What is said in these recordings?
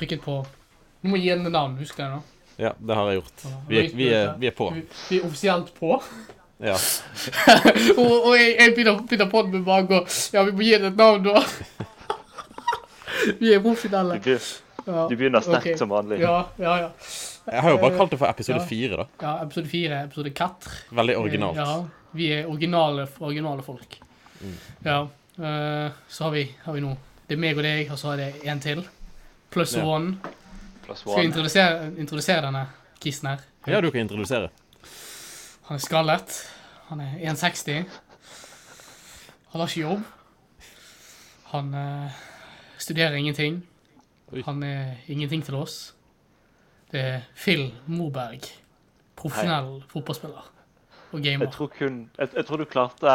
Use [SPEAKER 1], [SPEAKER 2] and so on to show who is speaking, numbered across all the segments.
[SPEAKER 1] trykket på Du må gi den et navn, husk det nå.
[SPEAKER 2] Ja, det har jeg gjort. Vi er, vi er, vi er på.
[SPEAKER 1] Vi, vi er offisielt på.
[SPEAKER 2] Ja.
[SPEAKER 1] og og jeg, jeg begynner, begynner på den med bare å gå Ja, vi må gi den et navn, da. vi er
[SPEAKER 3] Du,
[SPEAKER 1] profesjonelle.
[SPEAKER 3] begyn-
[SPEAKER 1] Ja.
[SPEAKER 3] du begynner sterkt
[SPEAKER 1] Ok.
[SPEAKER 3] som vanlig.
[SPEAKER 1] ja, ja, ja.
[SPEAKER 2] Jeg har jo bare kalt det for episode
[SPEAKER 1] Ja.
[SPEAKER 2] fire, da.
[SPEAKER 1] ja episode fire, episode quatre.
[SPEAKER 2] Veldig originalt.
[SPEAKER 1] Ja, vi er originale, originale folk.
[SPEAKER 2] Mm.
[SPEAKER 1] Ja, eh, så har vi, har vi nå Det er meg og deg, og så er det en til. Plus
[SPEAKER 2] Ja.
[SPEAKER 1] one.
[SPEAKER 3] Plus
[SPEAKER 1] Skal vi
[SPEAKER 3] one.
[SPEAKER 1] introdusere, introdusere denne kissen her?
[SPEAKER 2] Ja, du kan introdusere.
[SPEAKER 1] Han er skallet. Han er 1,60. Han har ikke jobb. Han eh, studerer ingenting.
[SPEAKER 2] Oi.
[SPEAKER 1] Han er ingenting til oss. Det er Phil Moberg. Profesjonell fotballspiller og
[SPEAKER 3] Jeg
[SPEAKER 1] gamer.
[SPEAKER 3] tror, kun, jeg, jeg tror du klarte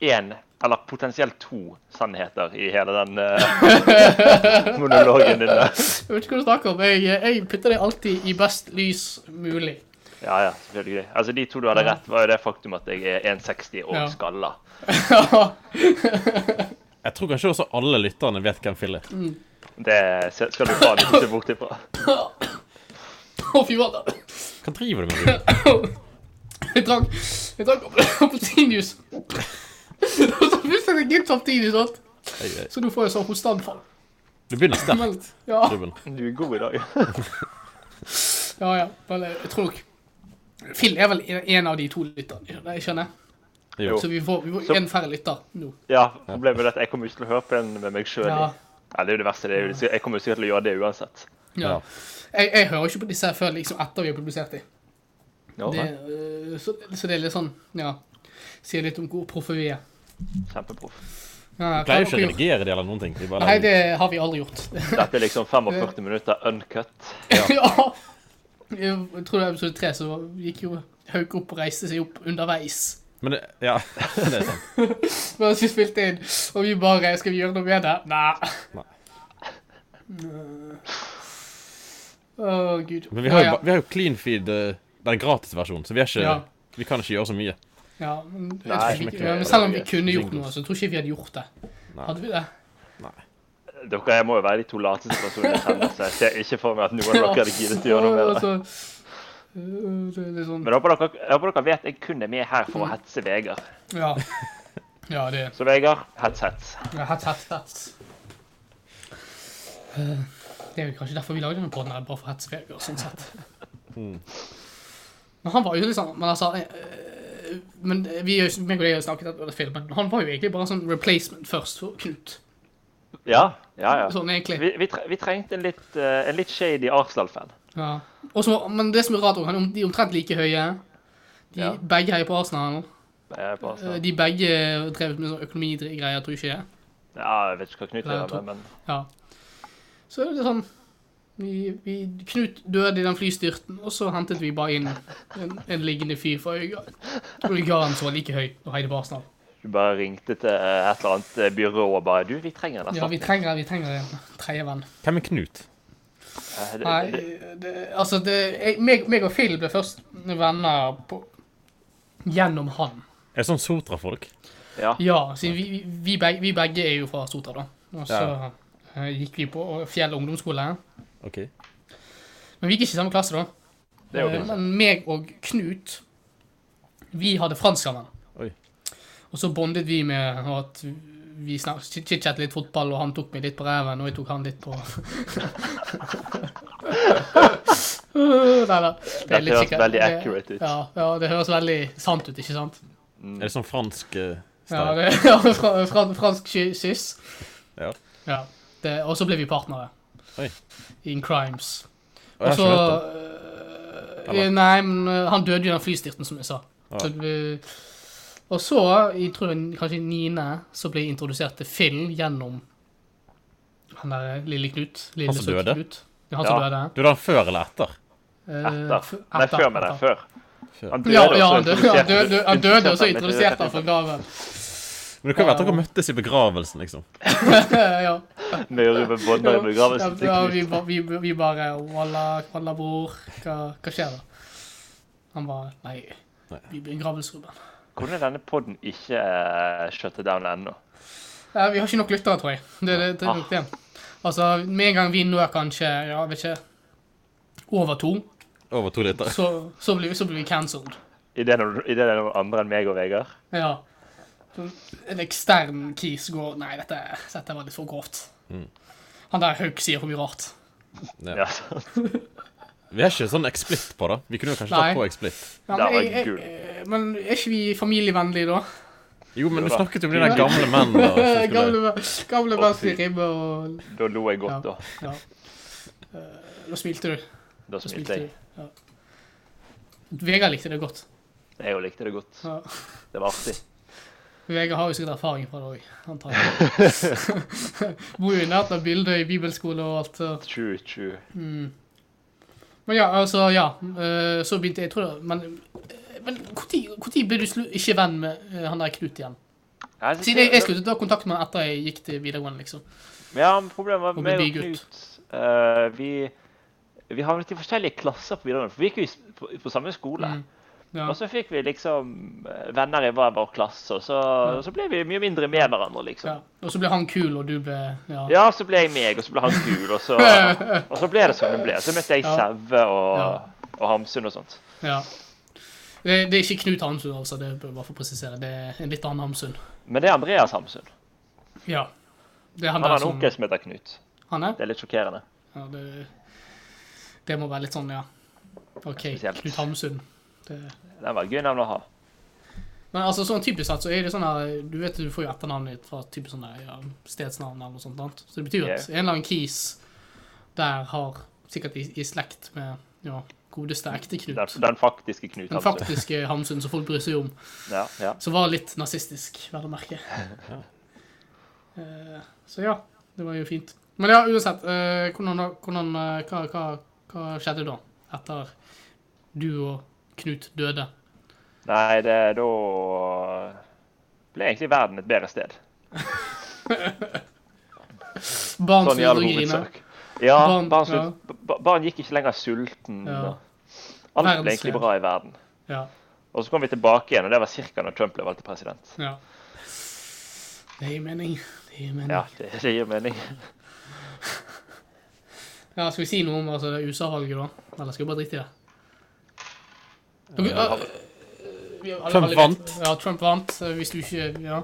[SPEAKER 3] én, eller potensielt to, sannheter i hele den eh, monologen din. der.
[SPEAKER 1] Jeg vet ikke hva du snakker om. Jeg, eh, jeg putter det alltid i best lys mulig.
[SPEAKER 3] Ja, ja, selvfølgelig. Altså, De to du hadde rett, var jo det faktum at jeg er 1,60 og
[SPEAKER 1] Ja.
[SPEAKER 3] skalla.
[SPEAKER 2] Jeg tror kanskje også alle lytterne vet hvem Phil er.
[SPEAKER 3] Det se- skal du faen ikke se bort ifra.
[SPEAKER 1] Å, fy fader.
[SPEAKER 2] Hva driver du med? Rune?
[SPEAKER 1] Jeg drakk Jeg drakk appelsinjuice. Og så plutselig er det gitt samtidig, sant?
[SPEAKER 2] Ei, ei.
[SPEAKER 1] Så nå får jeg sånn hosteanfall.
[SPEAKER 2] Du begynner sterkt,
[SPEAKER 1] Men- Ja.
[SPEAKER 2] Ruben.
[SPEAKER 3] Du er god i dag.
[SPEAKER 1] Ja, ja. Vel, jeg tror nok Phil er vel en av de to lytterne, skjønner jeg skjønner.
[SPEAKER 2] Jo.
[SPEAKER 1] Så vi får, vi får
[SPEAKER 3] Så-
[SPEAKER 1] en færre lytter nå.
[SPEAKER 3] Ja, problemet er at jeg kommer ikke til å høre på den med meg sjøl.
[SPEAKER 1] Ja.
[SPEAKER 3] Ja. det er jo det verste. Det er jo, jeg kommer jo sikkert til å gjøre det uansett.
[SPEAKER 1] Ja.
[SPEAKER 2] Ja.
[SPEAKER 1] Jeg, jeg hører ikke på disse her før liksom etter vi har publisert dem. Det, øh, så, så det er litt sånn Ja. Sier litt om hvor proffe vi er.
[SPEAKER 3] Kjempeproff.
[SPEAKER 1] Ja,
[SPEAKER 2] Jeg pleier
[SPEAKER 1] hva
[SPEAKER 2] jo
[SPEAKER 1] har
[SPEAKER 2] ikke å
[SPEAKER 1] dere gjort?
[SPEAKER 2] redigere det eller noen ting. Vi bare
[SPEAKER 1] Nei, det har vi aldri gjort.
[SPEAKER 3] Dette er liksom 45 minutter uncut.
[SPEAKER 1] Ja. Jeg tror det var episode tre, så gikk jo Hauke opp og reiste seg opp underveis.
[SPEAKER 2] Men det, ja, det er sant.
[SPEAKER 1] Mens vi spilte inn, og vi bare Skal vi gjøre noe med det? Nei.
[SPEAKER 2] Nei.
[SPEAKER 1] Nei. Å, gud.
[SPEAKER 2] Men vi har jo,
[SPEAKER 1] ja,
[SPEAKER 2] ba- vi har jo clean feed, eh, det er en gratisversjon, så vi, er ikke,
[SPEAKER 1] Ja.
[SPEAKER 2] vi kan ikke gjøre så mye.
[SPEAKER 1] ja, men, jeg
[SPEAKER 3] Nei,
[SPEAKER 1] tror
[SPEAKER 3] ikke
[SPEAKER 1] ikke,
[SPEAKER 3] mye.
[SPEAKER 1] ja, men selv om vi kunne gjort
[SPEAKER 2] Jingles.
[SPEAKER 1] noe, så tror ikke vi hadde gjort det.
[SPEAKER 2] Nei.
[SPEAKER 1] Hadde vi det?
[SPEAKER 3] Dere jeg må jo være de to lateste personene jeg kjenner, så jeg ser ikke for meg at noen av dere hadde giddet å gjøre noe med det.
[SPEAKER 1] Altså, øh, det er litt sånn
[SPEAKER 3] Men jeg håper, dere, jeg håper dere vet jeg kun er med her for å hetse Vegard.
[SPEAKER 1] Ja. Ja, det
[SPEAKER 3] Så Vegard, hets, hets.
[SPEAKER 1] Ja, hats, hats, hats. Eh, Det er jo kanskje derfor vi lagde denne podden, her, bare for hetsfeger, sånn sett.
[SPEAKER 3] Mm.
[SPEAKER 1] Men han var jo liksom, men altså, eh, men vi er jo, meg og deg har snakket om det filmen, han var jo egentlig bare en sånn replacement først for Knut.
[SPEAKER 3] Ja, ja, ja.
[SPEAKER 1] Sånn egentlig.
[SPEAKER 3] Vi, vi, tre, vi trengte en litt, eh, en litt shady Arsenal-fan.
[SPEAKER 1] Ja. Og så, men det som er rart, også, han er om- de er omtrent like høye. De
[SPEAKER 3] Ja.
[SPEAKER 1] begge heier på Arsenal.
[SPEAKER 3] eh, på
[SPEAKER 1] Eh,
[SPEAKER 3] Arsenal.
[SPEAKER 1] De begge drev med sånn økonomigreier, tror jeg ikke det.
[SPEAKER 3] Ja, jeg vet ikke hva Knut
[SPEAKER 1] Nei, jeg
[SPEAKER 3] gjør,
[SPEAKER 1] tror-
[SPEAKER 3] men
[SPEAKER 1] Ja. Så er det sånn vi, vi, Knut døde i den flystyrten, og så hentet vi bare inn en, en liggende fyr fra Øygarden. Øygarden som var like høy og heide på Arsenal.
[SPEAKER 3] du bare ringte til eh, et eller annet eh, byrå og bare Du, vi trenger en
[SPEAKER 1] Ja, vi
[SPEAKER 3] erstatning.
[SPEAKER 1] trenger, vi trenger en tredje venn.
[SPEAKER 2] Hvem er Knut?
[SPEAKER 3] Eh, det-
[SPEAKER 1] Nei,
[SPEAKER 3] det-
[SPEAKER 1] det, altså det, jeg, meg, meg og Phil ble først venner på, gjennom han.
[SPEAKER 2] Er det sånn Sotra-folk?
[SPEAKER 3] Ja.
[SPEAKER 1] Ja, siden vi, vi, vi, begge, vi begge er jo fra Sotra, da. Og så
[SPEAKER 2] Ja.
[SPEAKER 1] eh, gikk vi på Fjell ungdomsskole.
[SPEAKER 2] OK.
[SPEAKER 1] Men vi gikk ikke i samme klasse, da.
[SPEAKER 3] Det er jo
[SPEAKER 1] Eh,
[SPEAKER 3] fint.
[SPEAKER 1] Men meg og Knut, vi hadde fransk sammen.
[SPEAKER 2] Oi.
[SPEAKER 1] Og så bondet vi med at vi snak- chit- chit-chat litt fotball, og han tok meg litt på ræven, og jeg tok han litt på Nei da. Det
[SPEAKER 3] Dette
[SPEAKER 1] er litt
[SPEAKER 3] høres
[SPEAKER 1] sikkert-
[SPEAKER 3] veldig
[SPEAKER 1] det-
[SPEAKER 3] accurate ut.
[SPEAKER 1] Ja, ja, det høres veldig sant ut, ikke sant?
[SPEAKER 2] Er det sånn fransk uh,
[SPEAKER 1] Ja,
[SPEAKER 2] style?
[SPEAKER 1] det, ja fra, fra, fransk sky- kyss.
[SPEAKER 2] Ja.
[SPEAKER 1] Ja. Det, og så ble vi partnere.
[SPEAKER 2] Oi.
[SPEAKER 1] In crimes.
[SPEAKER 2] Å, jeg har
[SPEAKER 1] Og så
[SPEAKER 2] ikke hørt det.
[SPEAKER 1] øh,
[SPEAKER 2] Eller?
[SPEAKER 1] Nei, men øh, han døde jo i den flystyrten, som jeg sa.
[SPEAKER 2] Ja.
[SPEAKER 1] Så, øh, og så, jeg tror jeg, kanskje i niende, så ble jeg introdusert til Phil gjennom han der eh, lille Knut. Lille
[SPEAKER 2] Han som
[SPEAKER 1] søte
[SPEAKER 2] døde?
[SPEAKER 1] Knut. Ja, han som
[SPEAKER 3] Ja.
[SPEAKER 1] døde.
[SPEAKER 2] Du er den før eller etter?
[SPEAKER 1] Eh, f-
[SPEAKER 3] Etter. Nei, før med det.
[SPEAKER 1] etter.
[SPEAKER 3] Før.
[SPEAKER 2] Før.
[SPEAKER 3] Han
[SPEAKER 1] Ja, ja,
[SPEAKER 3] og så
[SPEAKER 1] han døde, han
[SPEAKER 3] introduserte
[SPEAKER 1] døde,
[SPEAKER 3] du-
[SPEAKER 1] han døde og så
[SPEAKER 3] introduserte
[SPEAKER 1] introduserte
[SPEAKER 3] du-
[SPEAKER 1] han for gaven.
[SPEAKER 2] Men det kan være at dere møttes i begravelsen, liksom.
[SPEAKER 1] ja.
[SPEAKER 3] Møre med bånder i begravelsen til
[SPEAKER 1] Ja, vi,
[SPEAKER 3] Knut.
[SPEAKER 1] ba- vi, vi bare Walla, walla bror, hva, hva skjer da? Han bare Nei,
[SPEAKER 2] Nei.
[SPEAKER 1] vi blir gravelsruben.
[SPEAKER 3] Hvordan er denne podden ikke uh, shuttet down ennå?
[SPEAKER 1] Nei, vi har ikke nok lyttere, tror jeg. Det, det, det er nok det. Altså, med en gang vi når kanskje, ja, vet ikke, over to,
[SPEAKER 2] Over to liter.
[SPEAKER 1] så, så blir, så blir vi cancelled.
[SPEAKER 3] I det, når- i det det er noen andre enn meg og Vegard.
[SPEAKER 1] Ja. Sånn, En ekstern kis går Nei, dette, dette var litt for grovt.
[SPEAKER 3] Mm.
[SPEAKER 1] Han der Hauk sier for mye rart.
[SPEAKER 3] Ja,
[SPEAKER 2] Ja.
[SPEAKER 3] sant.
[SPEAKER 2] Vi har ikke sånn X-Split på det. Vi kunne jo kanskje
[SPEAKER 1] Nei.
[SPEAKER 2] tatt på X-Split.
[SPEAKER 1] Men,
[SPEAKER 3] Det var
[SPEAKER 1] jeg,
[SPEAKER 3] gull.
[SPEAKER 1] jeg, men er ikke vi familievennlige, da?
[SPEAKER 2] Jo, men du
[SPEAKER 3] Jo da.
[SPEAKER 2] snakket jo om de der gamle mennene. og så skulle-
[SPEAKER 1] gamle gamle
[SPEAKER 3] Å,
[SPEAKER 1] best i
[SPEAKER 3] fy.
[SPEAKER 1] ribbe og
[SPEAKER 3] Da lo jeg godt, da.
[SPEAKER 1] Ja. Eh, Da smilte du. Da
[SPEAKER 3] Da smilte
[SPEAKER 1] smilte du.
[SPEAKER 3] jeg.
[SPEAKER 1] Ja. Vegard likte det godt.
[SPEAKER 3] Jeg jo likte det godt.
[SPEAKER 1] Ja.
[SPEAKER 3] Det var artig.
[SPEAKER 1] Vegard har jo sikkert erfaring fra det òg, antagelig. Bor jo i nærheten av Bildøy bibelskole og alt. så-
[SPEAKER 3] Tju, tju.
[SPEAKER 1] Men ja, altså, ja. eh, Så begynte jeg, jeg tror det Men, eh, men når ble du slu, ikke venn med eh, han der Knut igjen?
[SPEAKER 3] Ja, det-
[SPEAKER 1] Siden jeg, jeg sluttet å ha kontakt med han etter jeg gikk til videregående, liksom.
[SPEAKER 3] Ja, men problemet var
[SPEAKER 1] Og
[SPEAKER 3] meg og
[SPEAKER 1] bli gutt.
[SPEAKER 3] Knut eh, vi, vi havnet i forskjellige klasser på videregående. For vi gikk jo i s- på, på samme skole.
[SPEAKER 1] Mm. Ja.
[SPEAKER 3] Og så fikk vi liksom eh, venner i hver vår klasse, og så, og så ble vi mye mindre med hverandre,
[SPEAKER 1] ja.
[SPEAKER 3] liksom.
[SPEAKER 1] Og så ble han kul, og du ble Ja.
[SPEAKER 3] Ja, så ble jeg meg, og så ble han kul, og så, og så ble det som det ble. Så møtte jeg
[SPEAKER 1] Ja.
[SPEAKER 3] Saue
[SPEAKER 1] Ja.
[SPEAKER 3] og, og Hamsun og sånt.
[SPEAKER 1] ja. Det, det er ikke Knut Hamsun, altså. Det bør jeg bare få presisere. Det er en litt annen Hamsun.
[SPEAKER 3] Men det er Andreas Hamsun.
[SPEAKER 1] Ja. Det er han,
[SPEAKER 3] Han har
[SPEAKER 1] der
[SPEAKER 3] en
[SPEAKER 1] som
[SPEAKER 3] onkel som heter Knut.
[SPEAKER 1] Han er?
[SPEAKER 3] Det er litt sjokkerende.
[SPEAKER 1] Ja, det, det må være litt sånn, ja. OK,
[SPEAKER 3] Spesielt.
[SPEAKER 1] Knut Hamsun. Det
[SPEAKER 3] Den var et gøy navn å ha.
[SPEAKER 1] Men altså, sånn typisk sett så er det sånn her Du vet du får jo etternavnet ditt fra typisk sånn her, ja, stedsnavn eller noe sånt. Sant? Så det betyr jo at en eller annen kis der har sikkert i, i slekt med ja, godeste ekte Knut.
[SPEAKER 3] Den, den faktiske Knut
[SPEAKER 1] Den
[SPEAKER 3] Hamsun.
[SPEAKER 1] faktiske Hamsun som folk bryr seg om.
[SPEAKER 3] Ja, ja.
[SPEAKER 1] Som var litt nazistisk, vel å merke. Eh, så ja. Det var jo fint. Men ja, uansett. eh, hvordan, hvordan, eh, hva, hva, hva skjedde da? Etter du og Knut døde?
[SPEAKER 3] Nei, det da ble egentlig verden et bedre sted.
[SPEAKER 1] Barn
[SPEAKER 3] Sånn i
[SPEAKER 1] slutter
[SPEAKER 3] all
[SPEAKER 1] å grine.
[SPEAKER 3] hovedsak. Ja,
[SPEAKER 1] Barn-
[SPEAKER 3] barn, slutt, ba- barn gikk ikke lenger sulten.
[SPEAKER 1] Ja.
[SPEAKER 3] og Alt
[SPEAKER 1] Verdens
[SPEAKER 3] ble egentlig
[SPEAKER 1] fred.
[SPEAKER 3] bra i verden.
[SPEAKER 1] Ja.
[SPEAKER 3] Og så kom vi tilbake igjen, og det var ca. når Trump ble valgt til president.
[SPEAKER 1] Ja. Det gir mening. Det gir mening.
[SPEAKER 3] Ja,
[SPEAKER 1] Ja.
[SPEAKER 3] det, det gir mening.
[SPEAKER 1] Skal vi si noe om altså, det USA-valget, da? Eller skal vi bare drite i det?
[SPEAKER 3] Eh, Ja.
[SPEAKER 1] Øh, øh, vi har alle-
[SPEAKER 2] Trump
[SPEAKER 1] alle-
[SPEAKER 2] vant.
[SPEAKER 1] Ja, Trump vant. øh, Hvis du ikke Ja.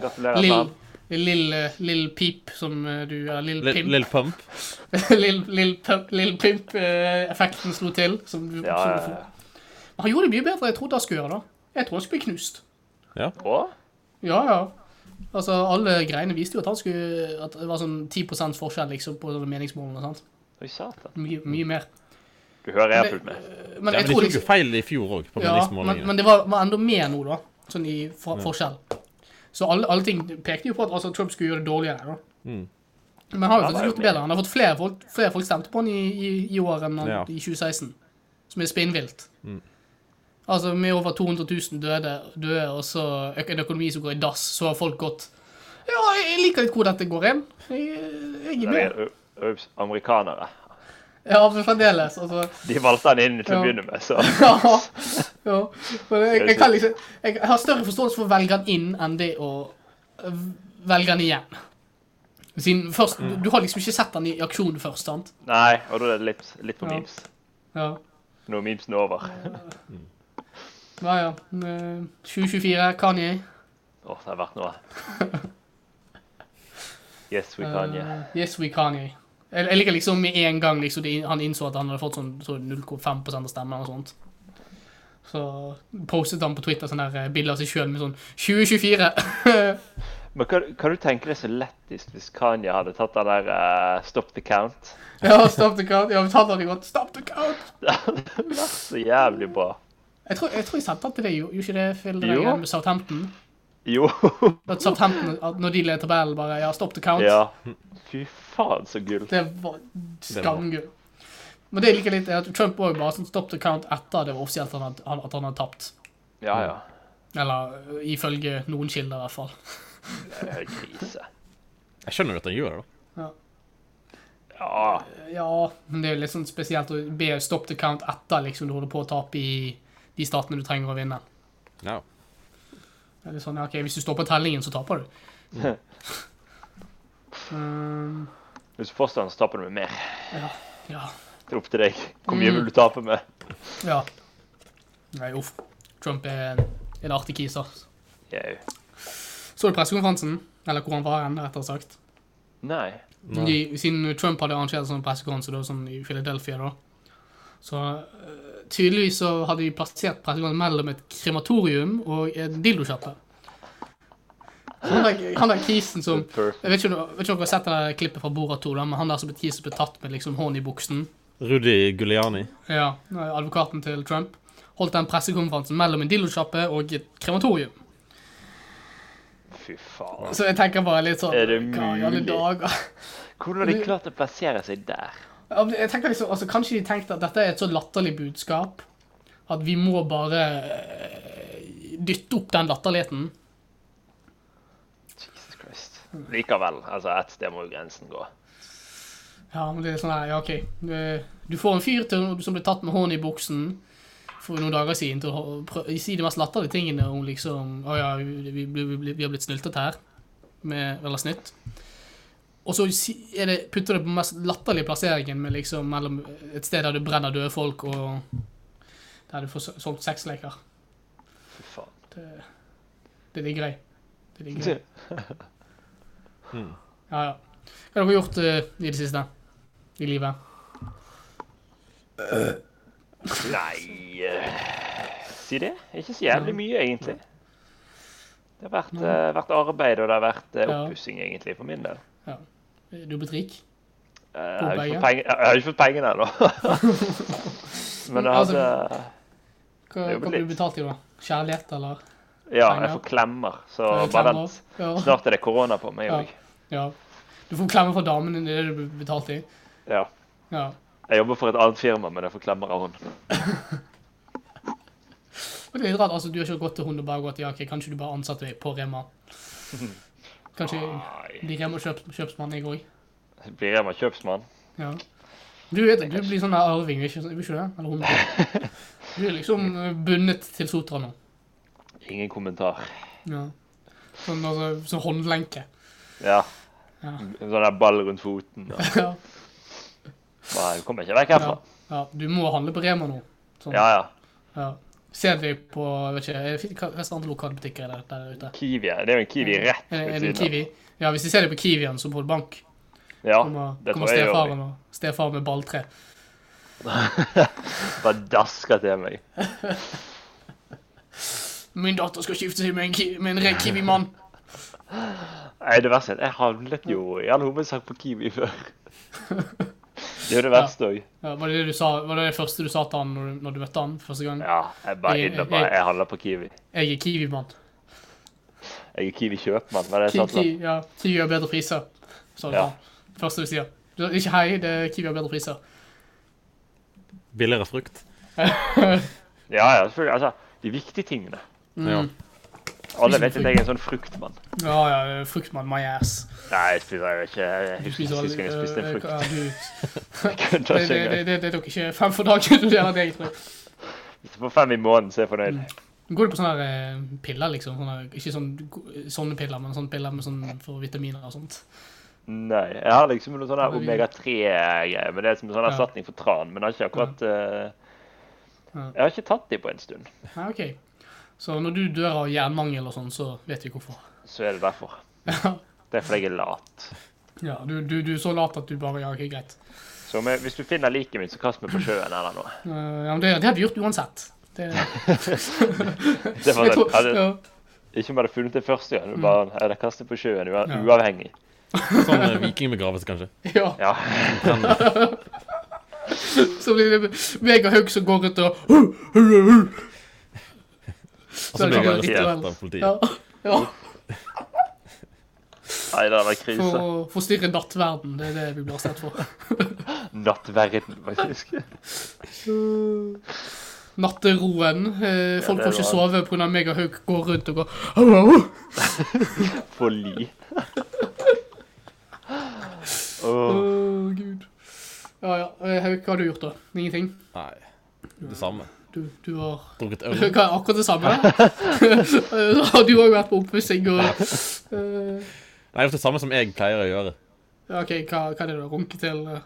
[SPEAKER 3] Gratulerer.
[SPEAKER 1] Lill,
[SPEAKER 3] Lill.
[SPEAKER 1] Lill, øh, Lill Peep, som øh, du Ja, Lill
[SPEAKER 2] Li-
[SPEAKER 1] Pimp.
[SPEAKER 2] Lill Pump.
[SPEAKER 1] Lill, Lill Pump- Lill Pimp-effekten slo til. Som du,
[SPEAKER 3] Ja,
[SPEAKER 1] som
[SPEAKER 3] ja,
[SPEAKER 1] du får.
[SPEAKER 3] ja.
[SPEAKER 1] Men Han gjorde det mye bedre enn jeg trodde han skulle gjøre. da. Jeg tror han skulle bli knust.
[SPEAKER 3] Og
[SPEAKER 1] Ja, ja. Altså, alle greiene viste jo at, han skulle, at det var sånn 10 forskjell liksom, på sånne meningsmålene. sant?
[SPEAKER 3] Oi, satan.
[SPEAKER 1] Mye, mye mer.
[SPEAKER 3] Du hører jeg har
[SPEAKER 1] Det-
[SPEAKER 3] fulgt med.
[SPEAKER 1] Men
[SPEAKER 2] Ja,
[SPEAKER 1] jeg
[SPEAKER 2] men de
[SPEAKER 1] tror
[SPEAKER 2] tok jo
[SPEAKER 1] liksom
[SPEAKER 2] feil i fjor òg, på
[SPEAKER 1] ja, men,
[SPEAKER 2] meningsmålingene.
[SPEAKER 1] men det var, var enda mer nå, da. Sånn i for, forskjell. Så alle, alle ting pekte jo på at altså, Trump skulle gjøre det dårligere. da.
[SPEAKER 2] Mm.
[SPEAKER 1] Men han har jo
[SPEAKER 3] Han var
[SPEAKER 1] faktisk
[SPEAKER 3] jo
[SPEAKER 1] gjort det
[SPEAKER 3] med.
[SPEAKER 1] bedre. Han har fått flere folk, flere folk stemte på han i, i, i år enn han,
[SPEAKER 2] Ja. Mm.
[SPEAKER 1] i 2016. Som er spinnvilt. Altså med over 200 000 døde, døde og så ø- en økonomi som går i dass, så har folk gått Ja, jeg liker litt hvor dette går inn. Jeg, jeg er
[SPEAKER 3] Det
[SPEAKER 1] med.
[SPEAKER 3] er ø- Ups, amerikanere.
[SPEAKER 1] Ja, men fremdeles. Altså.
[SPEAKER 3] De valgte han inn til å
[SPEAKER 1] Ja.
[SPEAKER 3] begynne med, så
[SPEAKER 1] Ja. ja. Men jeg, jeg, kan liksom, jeg har større forståelse for å velge den inn enn det å øh, velge den igjen. Siden først, du, du har liksom ikke sett den i aksjon først, sant?
[SPEAKER 3] Nei, og da er det litt, litt for
[SPEAKER 1] Ja.
[SPEAKER 3] memes.
[SPEAKER 1] Ja.
[SPEAKER 3] Nå er memesen over. Åh,
[SPEAKER 1] Ja, ja. Eh, 2024, Kanye.
[SPEAKER 3] det har vært noe. Yes, we can, yeah.
[SPEAKER 1] Eh, yes, we Kanye. Jeg, jeg liker liksom med en gang liksom, det, han innså at han hadde fått sånn så 0,5 av stemmen og sånt. Så postet han på Twitter sånne der, eh, bilder av seg sjøl med sånn 2024.
[SPEAKER 3] Men kan, kan du tenke deg så lettest hvis Kanye hadde tatt den der eh, stop the count?
[SPEAKER 1] ja, stop the count. Ja, vi tar den godt. Stop the count.
[SPEAKER 3] Så jævlig bra.
[SPEAKER 1] Jeg tror jeg, tror jeg sendte den til deg, jo- gjorde ikke det, Phil? den
[SPEAKER 3] Jo.
[SPEAKER 1] gangen Med Southampton?
[SPEAKER 3] Jo.
[SPEAKER 1] At Southampton, at når de leder tabellen, bare ja, stopp the count.
[SPEAKER 3] Ja. Fy faen, så gull.
[SPEAKER 1] Det var skamgull. Men det jeg liker litt, er at Trump òg bare sånn stopp the count etter det var offisielt at han, had- han- at han hadde tapt.
[SPEAKER 3] Ja, ja.
[SPEAKER 1] Eller øh, ifølge noen kilder, i hvert fall.
[SPEAKER 3] Det er Krise.
[SPEAKER 2] Jeg skjønner jo at han gjør det, da.
[SPEAKER 3] Ja.
[SPEAKER 1] Ja, men det er jo litt sånn spesielt å be stopp the count etter liksom du holder på å tape i de statene du trenger å vinne.
[SPEAKER 2] Ja.
[SPEAKER 1] Det er litt sånn, ja, ok, Hvis du stopper tellingen, så taper du. Um,
[SPEAKER 3] Hvis du får sånn, så taper du med mer.
[SPEAKER 1] Ja. Ja.
[SPEAKER 3] Det er opp til deg. Hvor
[SPEAKER 1] Mm.
[SPEAKER 3] mye vil du tape med?
[SPEAKER 1] ja. Nei, uff. Trump er en, en artig kiser.
[SPEAKER 3] Jau.
[SPEAKER 1] Så du pressekonferansen? Eller hvor han var hen, rettere sagt.
[SPEAKER 3] Nei.
[SPEAKER 2] Nei.
[SPEAKER 1] De, siden Trump hadde arrangert sånn pressekonferanse da, sånn i Philadelphia, da. Så eh, tydeligvis så hadde de plassert pressekonferansen mellom et krematorium og en dildokjappe. Så Han, der- han der kisen som
[SPEAKER 3] Perfect.
[SPEAKER 1] Jeg vet ikke, om du- vet ikke om dere har sett det der klippet fra Borat 2, da, men han der som ble kisen ble tatt med liksom hånden i buksen.
[SPEAKER 2] Rudi Guliani.
[SPEAKER 1] Ja, advokaten til Trump holdt den pressekonferansen mellom en dillosjappe og et krematorium.
[SPEAKER 3] Fy faen.
[SPEAKER 1] Så jeg tenker bare litt sånn
[SPEAKER 3] Er det
[SPEAKER 1] hva i alle
[SPEAKER 3] mulig?
[SPEAKER 1] dager?
[SPEAKER 3] Hvordan har de klart å plassere seg der?
[SPEAKER 1] Ja, men Jeg tenker liksom, altså Kanskje de tenkte at dette er et så latterlig budskap at vi må bare eh, dytte opp den latterligheten.
[SPEAKER 3] Jesus Christ. Likevel, altså et sted må jo grensen gå.
[SPEAKER 1] Ja, men det er sånn her, ja, OK. eh, Du får en fyr til, som ble tatt med hånden i buksen for noen dager siden til å ha- prø- si de mest latterlige tingene om liksom Å ja, vi, vi, vi, vi, vi har blitt snyltet her. Med, eller snytt. Og så si- er det, putter du det på den mest latterlige plasseringen med liksom mellom et sted der du brenner døde folk, og der du får sol- solgt sexleker.
[SPEAKER 3] Fy faen.
[SPEAKER 1] Det, det ligger grei. Det ligger grei. Ja, ja. Hva har dere gjort eh, i det siste? I livet?
[SPEAKER 3] Nei eh, Si det. Ikke så jævlig mye, egentlig. Det har vært, eh, vært arbeid, og det har vært uh,
[SPEAKER 1] Ja.
[SPEAKER 3] oppussing, egentlig, for min del.
[SPEAKER 1] Du er blitt rik?
[SPEAKER 3] Eh, jeg, har
[SPEAKER 1] Bomberger.
[SPEAKER 3] ikke fått peng- jeg har ikke fått pengene ennå. Men jeg
[SPEAKER 1] Altså,
[SPEAKER 3] hadde
[SPEAKER 1] Hva,
[SPEAKER 3] Det er
[SPEAKER 1] hva
[SPEAKER 3] jo
[SPEAKER 1] blir
[SPEAKER 3] litt.
[SPEAKER 1] du betalt i, da? Kjærlighet, eller?
[SPEAKER 3] Ja, jeg får klemmer, så
[SPEAKER 1] eller
[SPEAKER 3] bare
[SPEAKER 1] klemmer?
[SPEAKER 3] vent.
[SPEAKER 1] Ja.
[SPEAKER 3] Snart er det korona på meg
[SPEAKER 1] Ja.
[SPEAKER 3] òg.
[SPEAKER 1] ja. Du får klemmer fra damen din, det er det du blir betalt i?
[SPEAKER 3] Ja.
[SPEAKER 1] Ja.
[SPEAKER 3] Jeg jobber for et annet firma, men jeg får klemmer av hun.
[SPEAKER 1] Og det er litt rart, altså, du har ikke gått til hun og bare gått ja, ok, kanskje du bare ansatte meg på Rema? Kanskje
[SPEAKER 3] Nei.
[SPEAKER 1] blir Rema kjøps, kjøpsmann jeg òg?
[SPEAKER 3] Blir Rema kjøpsmann?
[SPEAKER 1] Ja. Du vet det, du blir sånn der arving, ikke, vil ikke du det? Eller hun? Du er liksom eh, bundet til Sotra nå.
[SPEAKER 3] Ingen kommentar.
[SPEAKER 1] Ja. Sånn altså, sånn håndlenke.
[SPEAKER 3] Ja.
[SPEAKER 1] Ja.
[SPEAKER 3] En Sånn der ball rundt foten. Og.
[SPEAKER 1] Ja.
[SPEAKER 3] Nei, du kommer ikke vekk herfra.
[SPEAKER 1] ja. Du må handle på Rema nå. Sånn.
[SPEAKER 3] Ja, ja.
[SPEAKER 1] Ja. Ser vi på vet ikke, er det fin- hva- hva slags andre lokalbutikker er det der ute?
[SPEAKER 3] Kiwi. Det er jo en Kiwi rett
[SPEAKER 1] Er, er
[SPEAKER 3] ved
[SPEAKER 1] det en
[SPEAKER 3] siden
[SPEAKER 1] Kiwi? Ja, hvis de ser det på Kiwien som på en bank,
[SPEAKER 3] av. Ja,
[SPEAKER 1] kommer,
[SPEAKER 3] det
[SPEAKER 1] kommer
[SPEAKER 3] tror jeg gjør.
[SPEAKER 1] stefaren og stefaren med balltre.
[SPEAKER 3] Bare dasker til meg.
[SPEAKER 1] Min datter skal skifte seg med en, ki med en ren Kiwi-mann.
[SPEAKER 3] Nei, det verste er at jeg handlet jo i all hovedsak på Kiwi før. Det er jo det verste òg.
[SPEAKER 1] Ja, var, det det du sa, var det det første du sa til han når du, når du møtte han første gang?
[SPEAKER 3] Ja, jeg bare
[SPEAKER 1] Jeg-
[SPEAKER 3] inn og bare Jeg handler på Kiwi.
[SPEAKER 1] Jeg er Kiwi-mann.
[SPEAKER 3] Jeg er Kiwi-kjøpmann, men det
[SPEAKER 1] Ki
[SPEAKER 3] er sånn sant.
[SPEAKER 1] ki ja, Kiwi har bedre priser, sa du.
[SPEAKER 3] Ja.
[SPEAKER 1] Ja. Første du sier. Du sa Ikke hei, det er Kiwi har bedre priser.
[SPEAKER 2] Billigere frukt.
[SPEAKER 3] Ja, ja, selvfølgelig. Altså, de viktige tingene.
[SPEAKER 1] Mm.
[SPEAKER 2] Ja.
[SPEAKER 3] Alle vet at jeg er en sånn fruktmann.
[SPEAKER 1] Ja, ja, fruktmann, my ass.
[SPEAKER 3] Nei, jeg spiser jo ikke Jeg
[SPEAKER 1] Du
[SPEAKER 3] husker
[SPEAKER 1] spiser
[SPEAKER 3] sist gang jeg spiste en
[SPEAKER 1] øh,
[SPEAKER 3] frukt.
[SPEAKER 1] ja, du-
[SPEAKER 3] Jeg kødder
[SPEAKER 1] Det,
[SPEAKER 3] ikke
[SPEAKER 1] det, det,
[SPEAKER 3] engang.
[SPEAKER 1] det, det er dere ikke fem for dagen. Du gjør det egentlig.
[SPEAKER 3] Hvis jeg får fem i måneden, så er jeg fornøyd.
[SPEAKER 1] Går du på sånne her, eh, piller, liksom? Sånne, ikke sånn, go- sånne piller, men sånne piller med sånn, for vitaminer og sånt. Mm.
[SPEAKER 3] Nei. Jeg har liksom noe sånn her
[SPEAKER 1] Men vi-
[SPEAKER 3] omega-3-greier. Men det er som en sånn
[SPEAKER 1] Ja.
[SPEAKER 3] erstatning for tran. Men jeg har ikke akkurat eh,
[SPEAKER 1] Ja.
[SPEAKER 3] Jeg har ikke tatt de på en stund.
[SPEAKER 1] Ja, ok. Så når du dør av jernmangel og sånn, så vet vi hvorfor.
[SPEAKER 3] Så er det derfor. Det er fordi jeg er lat.
[SPEAKER 1] Ja, du, du, du er så lat at du bare Ja, ok, greit.
[SPEAKER 3] Så om jeg, hvis du finner liket mitt, så kast meg på sjøen eller noe.
[SPEAKER 1] Eh, ja, men det, det hadde du gjort uansett. Det,
[SPEAKER 3] Det var
[SPEAKER 1] jeg
[SPEAKER 3] sånn,
[SPEAKER 1] tror,
[SPEAKER 3] hadde,
[SPEAKER 1] ja.
[SPEAKER 3] ikke om jeg hadde funnet det første gang. Bare, jeg hadde kastet på sjøen ua-
[SPEAKER 1] Ja.
[SPEAKER 3] uavhengig.
[SPEAKER 2] Sånn eh, vikingbegravelse, kanskje.
[SPEAKER 1] ja.
[SPEAKER 3] Ja.
[SPEAKER 2] Brenner.
[SPEAKER 1] Så blir det meg og Haug som går rundt og
[SPEAKER 2] Og så blir jeg
[SPEAKER 1] Ja.
[SPEAKER 2] arrestert av politiet.
[SPEAKER 1] ja, ja,
[SPEAKER 3] Nei, det hadde vært
[SPEAKER 1] For
[SPEAKER 3] krise.
[SPEAKER 1] å forstyrre nattverden. Det er det vi blir arrestert for.
[SPEAKER 3] Nattverden, faktisk.
[SPEAKER 1] Natteroen. Eh, folk
[SPEAKER 3] det
[SPEAKER 1] får ikke
[SPEAKER 3] var-
[SPEAKER 1] sove pga. meg og Haug går rundt og går «Au, au, au!»
[SPEAKER 3] For li. Åh.
[SPEAKER 1] Åh, Gud. Ja ja. Eh, Haug, hva har du gjort, da? Ingenting?
[SPEAKER 2] Nei, det samme.
[SPEAKER 1] Du, du var
[SPEAKER 2] Drukket
[SPEAKER 1] Hva
[SPEAKER 2] øl.
[SPEAKER 3] Mm.
[SPEAKER 1] er akkurat det samme? Eh, Har du òg vært på oppussing og eh,
[SPEAKER 2] Nei, det er det samme som jeg pleier å gjøre.
[SPEAKER 1] Ja, OK, hva, hva er det du har runket til? eh,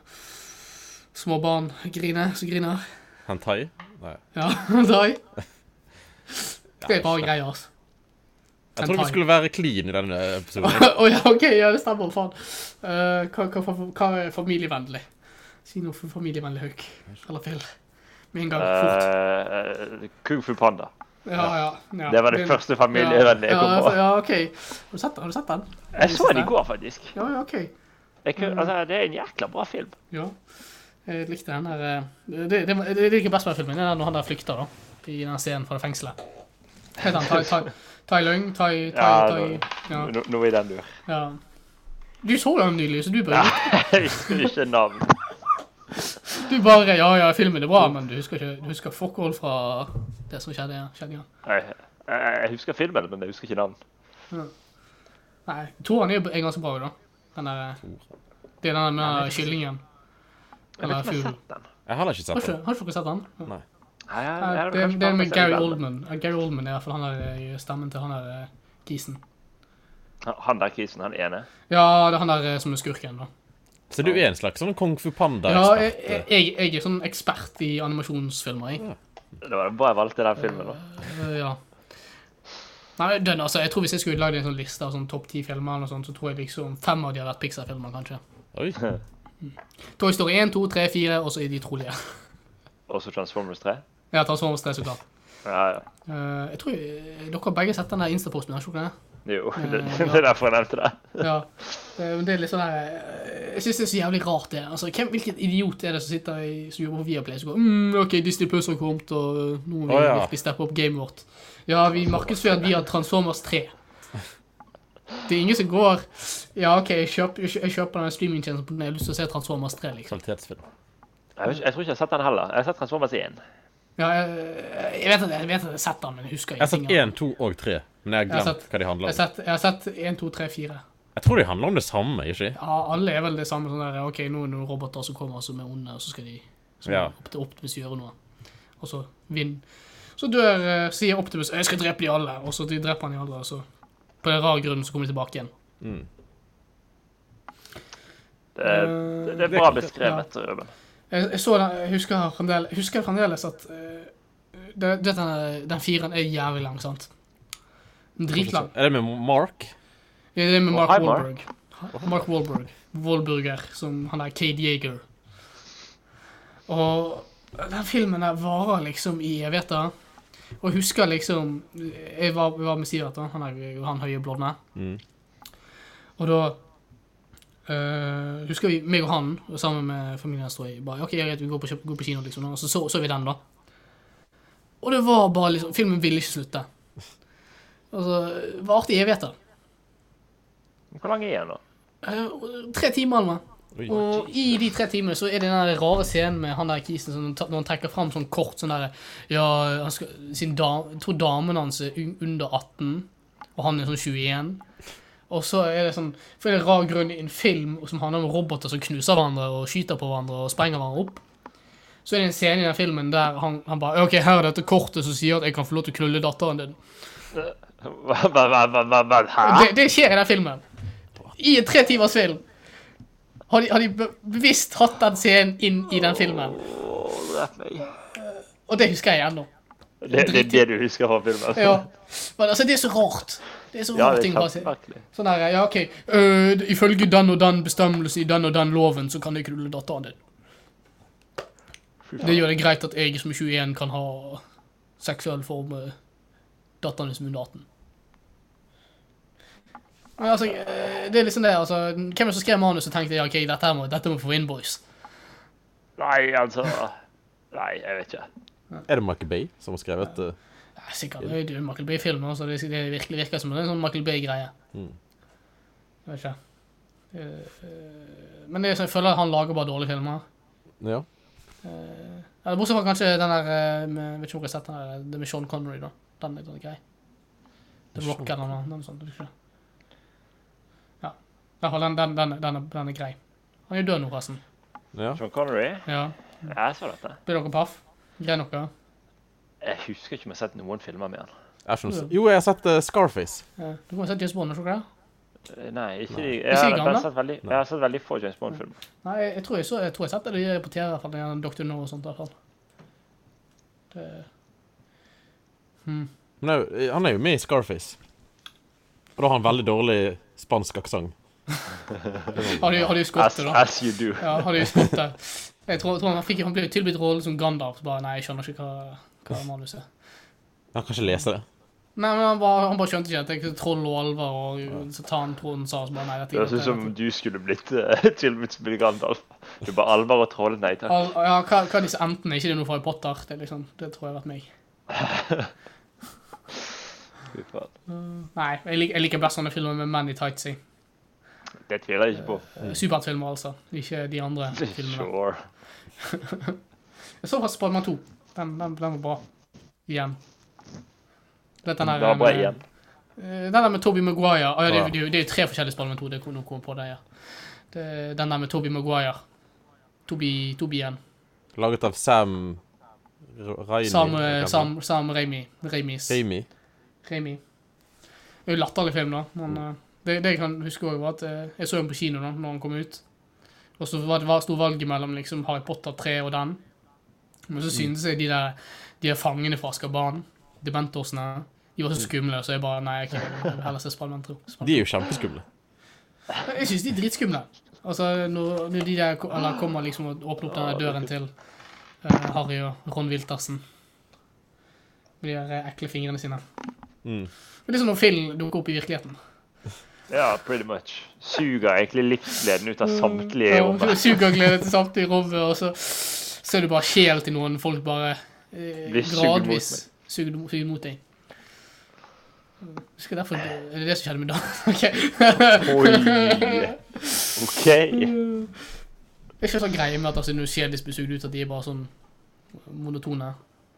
[SPEAKER 1] Små barn griner, som griner.
[SPEAKER 2] Hentai? Nei.
[SPEAKER 1] Ja, dai. Det er
[SPEAKER 2] Ja,
[SPEAKER 1] bra greier, altså.
[SPEAKER 2] Jeg trodde vi
[SPEAKER 1] hentai.
[SPEAKER 2] skulle være clean i denne
[SPEAKER 1] Å
[SPEAKER 2] episoden.
[SPEAKER 1] ja, OK, ja, det stemmer. Faen. Eh, hva, hva, fa- hva er familievennlig? Si noe for familievennlig hauk. Eller feil. Med en gang. Fort.
[SPEAKER 3] Eh, eh, Kung Fu Panda.
[SPEAKER 1] Ja, ja, ja.
[SPEAKER 3] Det var det
[SPEAKER 1] Men-
[SPEAKER 3] første familievennlige jeg
[SPEAKER 1] ja, altså,
[SPEAKER 3] kom på.
[SPEAKER 1] Ja, OK. Har du sett, har du sett den?
[SPEAKER 3] Jeg så den i går, faktisk.
[SPEAKER 1] Ja, Mm. ja, OK.
[SPEAKER 3] Jeg kunne, altså, det er en jækla bra film.
[SPEAKER 1] Ja. Jeg likte den der eh, Det, det, det liker jeg best med filmen, det er den når han der flykter, da. I den scenen fra det fengselet. Heter han Tai- Tai- Tai Lung? Tai Tai
[SPEAKER 3] Ja,
[SPEAKER 1] Tai
[SPEAKER 3] det-
[SPEAKER 1] Ja.
[SPEAKER 3] Nå, nå er den du.
[SPEAKER 1] ja. Du så jo den nylig, så du bare,
[SPEAKER 3] Ikke ikke navn.
[SPEAKER 1] du bare Ja ja, filmen er bra, men du husker ikke Du husker fuck all fra det som skjedde? skjedde ja.
[SPEAKER 3] Nei, Jeg jeg husker filmen, men jeg husker ikke navn.
[SPEAKER 1] Nei, toeren er jo er ganske bra, da. Den der eh, Det er den der med kyllingen.
[SPEAKER 3] Jeg vet
[SPEAKER 1] Eller
[SPEAKER 3] ikke om jeg har
[SPEAKER 1] fuglen.
[SPEAKER 3] sett den.
[SPEAKER 2] Jeg har ikke
[SPEAKER 1] Har
[SPEAKER 2] sett
[SPEAKER 1] ikke-
[SPEAKER 2] den.
[SPEAKER 1] har ikke dere sett den? Ja.
[SPEAKER 3] Nei, jeg- jeg
[SPEAKER 1] Nei,
[SPEAKER 3] hadde
[SPEAKER 1] det,
[SPEAKER 3] kanskje
[SPEAKER 1] det er
[SPEAKER 3] bare
[SPEAKER 1] med
[SPEAKER 3] sett
[SPEAKER 1] Gary
[SPEAKER 3] den.
[SPEAKER 1] Oldman. Ja, Gary Oldman er i hvert fall han der eh, stemmen til han der eh, kisen.
[SPEAKER 3] Han- Han der kisen, han ene.
[SPEAKER 1] Ja, det er han der eh, som er skurken, da.
[SPEAKER 2] Så du er en slags sånn kung fu
[SPEAKER 1] Ja, jeg,
[SPEAKER 2] panda-ekspert?
[SPEAKER 1] jeg,
[SPEAKER 2] eh.
[SPEAKER 1] jeg- jeg er sånn ekspert i animasjonsfilmer, jeg.
[SPEAKER 3] Det var bra jeg valgte den filmen. da.
[SPEAKER 1] Eh, ja. Nei, den, altså, jeg tror Hvis jeg skulle lagd en sånn liste av sånn topp ti filmer, eller noe sånt, så tror jeg liksom fem av de har vært Pixar-filmer, kanskje.
[SPEAKER 2] Oi.
[SPEAKER 1] Toy Story 1, 2, 3, 4, og så er de trolige.
[SPEAKER 3] Også Transformers 3.
[SPEAKER 1] Ja, Transformers 3, så klart.
[SPEAKER 3] Ja, ja.
[SPEAKER 1] Eh, jeg tror eh, dere har begge sett den der Instaposten, har dere ikke det?
[SPEAKER 3] Jo, det,
[SPEAKER 1] Eh,
[SPEAKER 3] det er derfor jeg nevnte det.
[SPEAKER 1] Ja. Eh, men Det er litt sånn her eh, Jeg syns det er så jævlig rart, det. Altså, hvem, hvilken idiot er det som sitter i, som jobber på Viaplay som går mm, OK, Disney Plus har kommet, og eh, nå må vi
[SPEAKER 2] Å, ja.
[SPEAKER 1] virkelig steppe opp gamet vårt. Ja, vi markedsfører at vi har Transformers 3. Det er ingen som går Ja, OK, jeg kjøper, jeg kjøper den streamingtjenesten på den, jeg har lyst til å se Transformers 3, liksom.
[SPEAKER 2] Kvalitetsfilm.
[SPEAKER 3] Jeg, vet ikke- jeg tror ikke jeg har sett den heller. Jeg har sett Transformers 1.
[SPEAKER 1] Ja, jeg, jeg, vet at, jeg vet at jeg har sett den, men jeg husker
[SPEAKER 2] Jeg har sett
[SPEAKER 1] av den.
[SPEAKER 2] én, to og tre, men jeg har
[SPEAKER 1] Jeg har
[SPEAKER 2] glemt
[SPEAKER 1] sett-
[SPEAKER 2] hva de
[SPEAKER 1] Jeg
[SPEAKER 2] handler
[SPEAKER 1] har
[SPEAKER 2] om.
[SPEAKER 1] sett- jeg har sett 1, 2, 3, 4.
[SPEAKER 2] Jeg tror de handler om det samme, ikke de?
[SPEAKER 1] Ja, alle er vel det samme. sånn der, OK, nå er det noen roboter som kommer som er onde, og så skal de så
[SPEAKER 2] Ja.
[SPEAKER 1] må Opti- Optimus gjøre noe. Og så vinn. Så dør eh, sier Optimus 'Jeg skal drepe de alle', og så de dreper han de alle, og så på en rar grunn så kommer de tilbake igjen.
[SPEAKER 2] Mm.
[SPEAKER 3] Det, er- Eh, det, det er
[SPEAKER 2] det
[SPEAKER 3] bra
[SPEAKER 2] kan-
[SPEAKER 3] beskrevet, Ruben.
[SPEAKER 1] Eh, Jeg, jeg så den, jeg husker fremdeles, husker fremdeles at eh, det, det, den, den fireren er jævlig lang, sant? Den er Dritlang.
[SPEAKER 2] Er det med Mark?
[SPEAKER 1] Det er det med
[SPEAKER 3] Og
[SPEAKER 1] Mark
[SPEAKER 3] hei, Mark.
[SPEAKER 1] Wahlberg. Mark Wahlberg. Wahlburger, som han der Cade Yeager. Og den filmen der varer liksom i Jeg vet det. Og jeg husker liksom Jeg var, jeg var med Sivert, da, han, er- han høye blonde.
[SPEAKER 2] Mhm.
[SPEAKER 1] Og da eh, husker vi meg og han og sammen med familien hans tror jeg, bare OK, jeg vet, vi går på, kjøp- går på kino, liksom. Og så, så så vi den, da. Og det var bare liksom Filmen ville ikke slutte. Altså, Varte i evigheter.
[SPEAKER 3] Hvor lang er den nå?
[SPEAKER 1] Eh, tre timer, Alma.
[SPEAKER 2] Oi.
[SPEAKER 1] Og i de tre timene så er det den der rare scenen med han der kisen som ta- når han trekker fram sånn kort sånn derre Ja, han skal, sin da, jeg tror damen hans er un- under 18, og han er sånn 21. Og så er det sånn For det er en rar grunn i en film som handler om roboter som knuser hverandre og skyter på hverandre og sprenger hverandre opp. Så er det en scene i den filmen der han, han bare OK, her er dette kortet som sier at jeg kan få lov til å knulle datteren din.
[SPEAKER 3] Hva, hva, hva, hva, hva, hva, hæ?
[SPEAKER 1] Det, det skjer i den filmen. I en tre timers film. Har de, har de be- bevisst hatt den scenen inn i den filmen?
[SPEAKER 3] Åh, drep meg.
[SPEAKER 1] Og det husker jeg ennå.
[SPEAKER 3] Det, det er det du husker fra filmen?
[SPEAKER 1] Ja. Men altså, det er så rart. Det er så
[SPEAKER 3] Ja,
[SPEAKER 1] rare
[SPEAKER 3] det
[SPEAKER 1] ting
[SPEAKER 3] er
[SPEAKER 1] å bare se.
[SPEAKER 3] kjempemerkelig.
[SPEAKER 1] Sånn her, ja, OK. øh, d- ifølge den og den bestemmelse i den og den loven, så kan jeg knulle datteren din. Det gjør det greit at jeg som er 21 kan ha seksuell form med datteren min som er under 18. Men altså, øh, det er liksom det, altså. Hvem er det som skrev manus og tenkte ja, OK, dette, her må, dette må vi få inn, boys?
[SPEAKER 3] Nei, altså Nei, jeg vet ikke.
[SPEAKER 2] Er det Michael Bay som har skrevet eh, det?
[SPEAKER 1] Ja, Sikkert. Det er jo en Michael Bay-film, altså. Det, det virkelig virker som en sånn Michael Bay-greie. Jeg vet ikke. Eh, eh, Men det er sånn, jeg føler at han lager bare dårlige filmer.
[SPEAKER 2] Ja.
[SPEAKER 1] Eller Bortsett fra kanskje den der eh, med, Vet ikke om dere har sett den der, eh, det med Sean Connery, da. Den er litt sånn grei. The Rock eller noe noe sånt. vet ikke. Ja. I hvert fall den, den, den, den, er- den er grei. Han er jo død nå, forresten.
[SPEAKER 2] ja.
[SPEAKER 3] John Connery?
[SPEAKER 1] Ja.
[SPEAKER 3] Ja, jeg så dette.
[SPEAKER 1] Blir dere paff? Grei noe?
[SPEAKER 3] Jeg husker ikke om jeg har sett noen filmer med han.
[SPEAKER 2] Jeg skjønner. Jo, jeg har sett eh, Scarface.
[SPEAKER 1] Ja. Du kan jo se James Bond, har du ikke det?
[SPEAKER 3] Nei, ikke
[SPEAKER 1] Ikke
[SPEAKER 3] de. Jeg
[SPEAKER 1] de
[SPEAKER 3] har, jeg har,
[SPEAKER 1] gamle?
[SPEAKER 3] sett, veldig, jeg har sett veldig få James Bond-filmer.
[SPEAKER 1] Nei, jeg, jeg tror jeg, så, jeg tror jeg satte det de reporterer i hvert fall, den Dr. No og sånt i hvert fall. Det,
[SPEAKER 2] Men det er jo- han er jo med i Scarface. Og da har han veldig dårlig spansk aksent.
[SPEAKER 1] har de, har de
[SPEAKER 3] As,
[SPEAKER 1] skottet da?
[SPEAKER 3] as you do.
[SPEAKER 1] Ja, har de skottet. Jeg tror, tror han, fikk, han ble tilbudt rollen som Gandalf, så bare, nei, jeg skjønner ikke hva, hva manuset er.
[SPEAKER 2] Han kan ikke lese det.
[SPEAKER 1] Nei, men han bare, han bare skjønte ikke at det er troll og alver, og satan, tronen sa, så bare, nei, dette
[SPEAKER 3] Det
[SPEAKER 1] er
[SPEAKER 3] høres ut som du skulle blitt uh, tilbudt spille Gandalf. Du bare alvor og troll. Nei takk.
[SPEAKER 1] Al ja, hva, hva er disse enten? Er ikke det noe fra Harry Potter? Det, er liksom, det tror jeg har vært meg.
[SPEAKER 3] Fy faen.
[SPEAKER 1] Nei, jeg, lik, jeg liker best sånne filmer med menn i tights i.
[SPEAKER 3] Det tviler jeg ikke på.
[SPEAKER 1] Eh, Superheltfilmer, altså. Ikke de andre filmene.
[SPEAKER 3] Sure.
[SPEAKER 1] Jeg så faktisk Spiderman 2. Den, den, den var bra. Igjen. Du vet den
[SPEAKER 3] Det
[SPEAKER 1] der
[SPEAKER 3] var bra
[SPEAKER 1] med-
[SPEAKER 3] igjen.
[SPEAKER 1] Eh, Den der med Tobey Maguire. Ah, ja, det,
[SPEAKER 2] Ah, ja.
[SPEAKER 1] er- det, er jo- det er jo tre forskjellige Spiderman 2. Det kom noe på det, ja. Det, er den der med Tobey Maguire. Toby, Toby igjen.
[SPEAKER 2] Laget av Sam R- Raimi.
[SPEAKER 1] Sam,
[SPEAKER 2] eller hva
[SPEAKER 1] eh,
[SPEAKER 2] han heter.
[SPEAKER 1] Sam, Sam Raimi. Raimis.
[SPEAKER 2] Raimi.
[SPEAKER 1] Raimi. Det er jo latterlig film, da. Men eh, det, det jeg kan huske også var at eh, jeg så den på kino da når den kom ut. Og så var det var stor valget mellom liksom, Harry Potter 3 og den. Men så syntes jeg de der de der fangene fra Azkaban, dementorsene, de var så skumle, så jeg bare Nei, ok, jeg vil heller se Spallman 2.
[SPEAKER 2] De er jo kjempeskumle.
[SPEAKER 1] Jeg syns de er dritskumle. Altså, når, når de der ko- eller kommer liksom og åpner opp den der døren til eh, Harry og Ron Wiltersen. Med de der eh, ekle fingrene sine.
[SPEAKER 2] Mm.
[SPEAKER 1] Det er liksom når Phil dukker opp i virkeligheten.
[SPEAKER 3] Ja, pretty much. Suger egentlig livsgleden ut av samtlige i
[SPEAKER 1] Mm. Ja,
[SPEAKER 3] rommet.
[SPEAKER 1] Suger glede til samtidig rommet, og så så er det bare sjel til noen folk bare eh,
[SPEAKER 3] Blir sugd mot
[SPEAKER 1] gradvis sugd mot, sugd mot deg. Husker derfor
[SPEAKER 3] Eh.
[SPEAKER 1] Er det det som skjedde med Dan? Ok.
[SPEAKER 3] Oi. OK.
[SPEAKER 1] Mm. Det er ikke sånn greie med at altså, når kjedis blir sugd ut, at de er bare sånn monotone.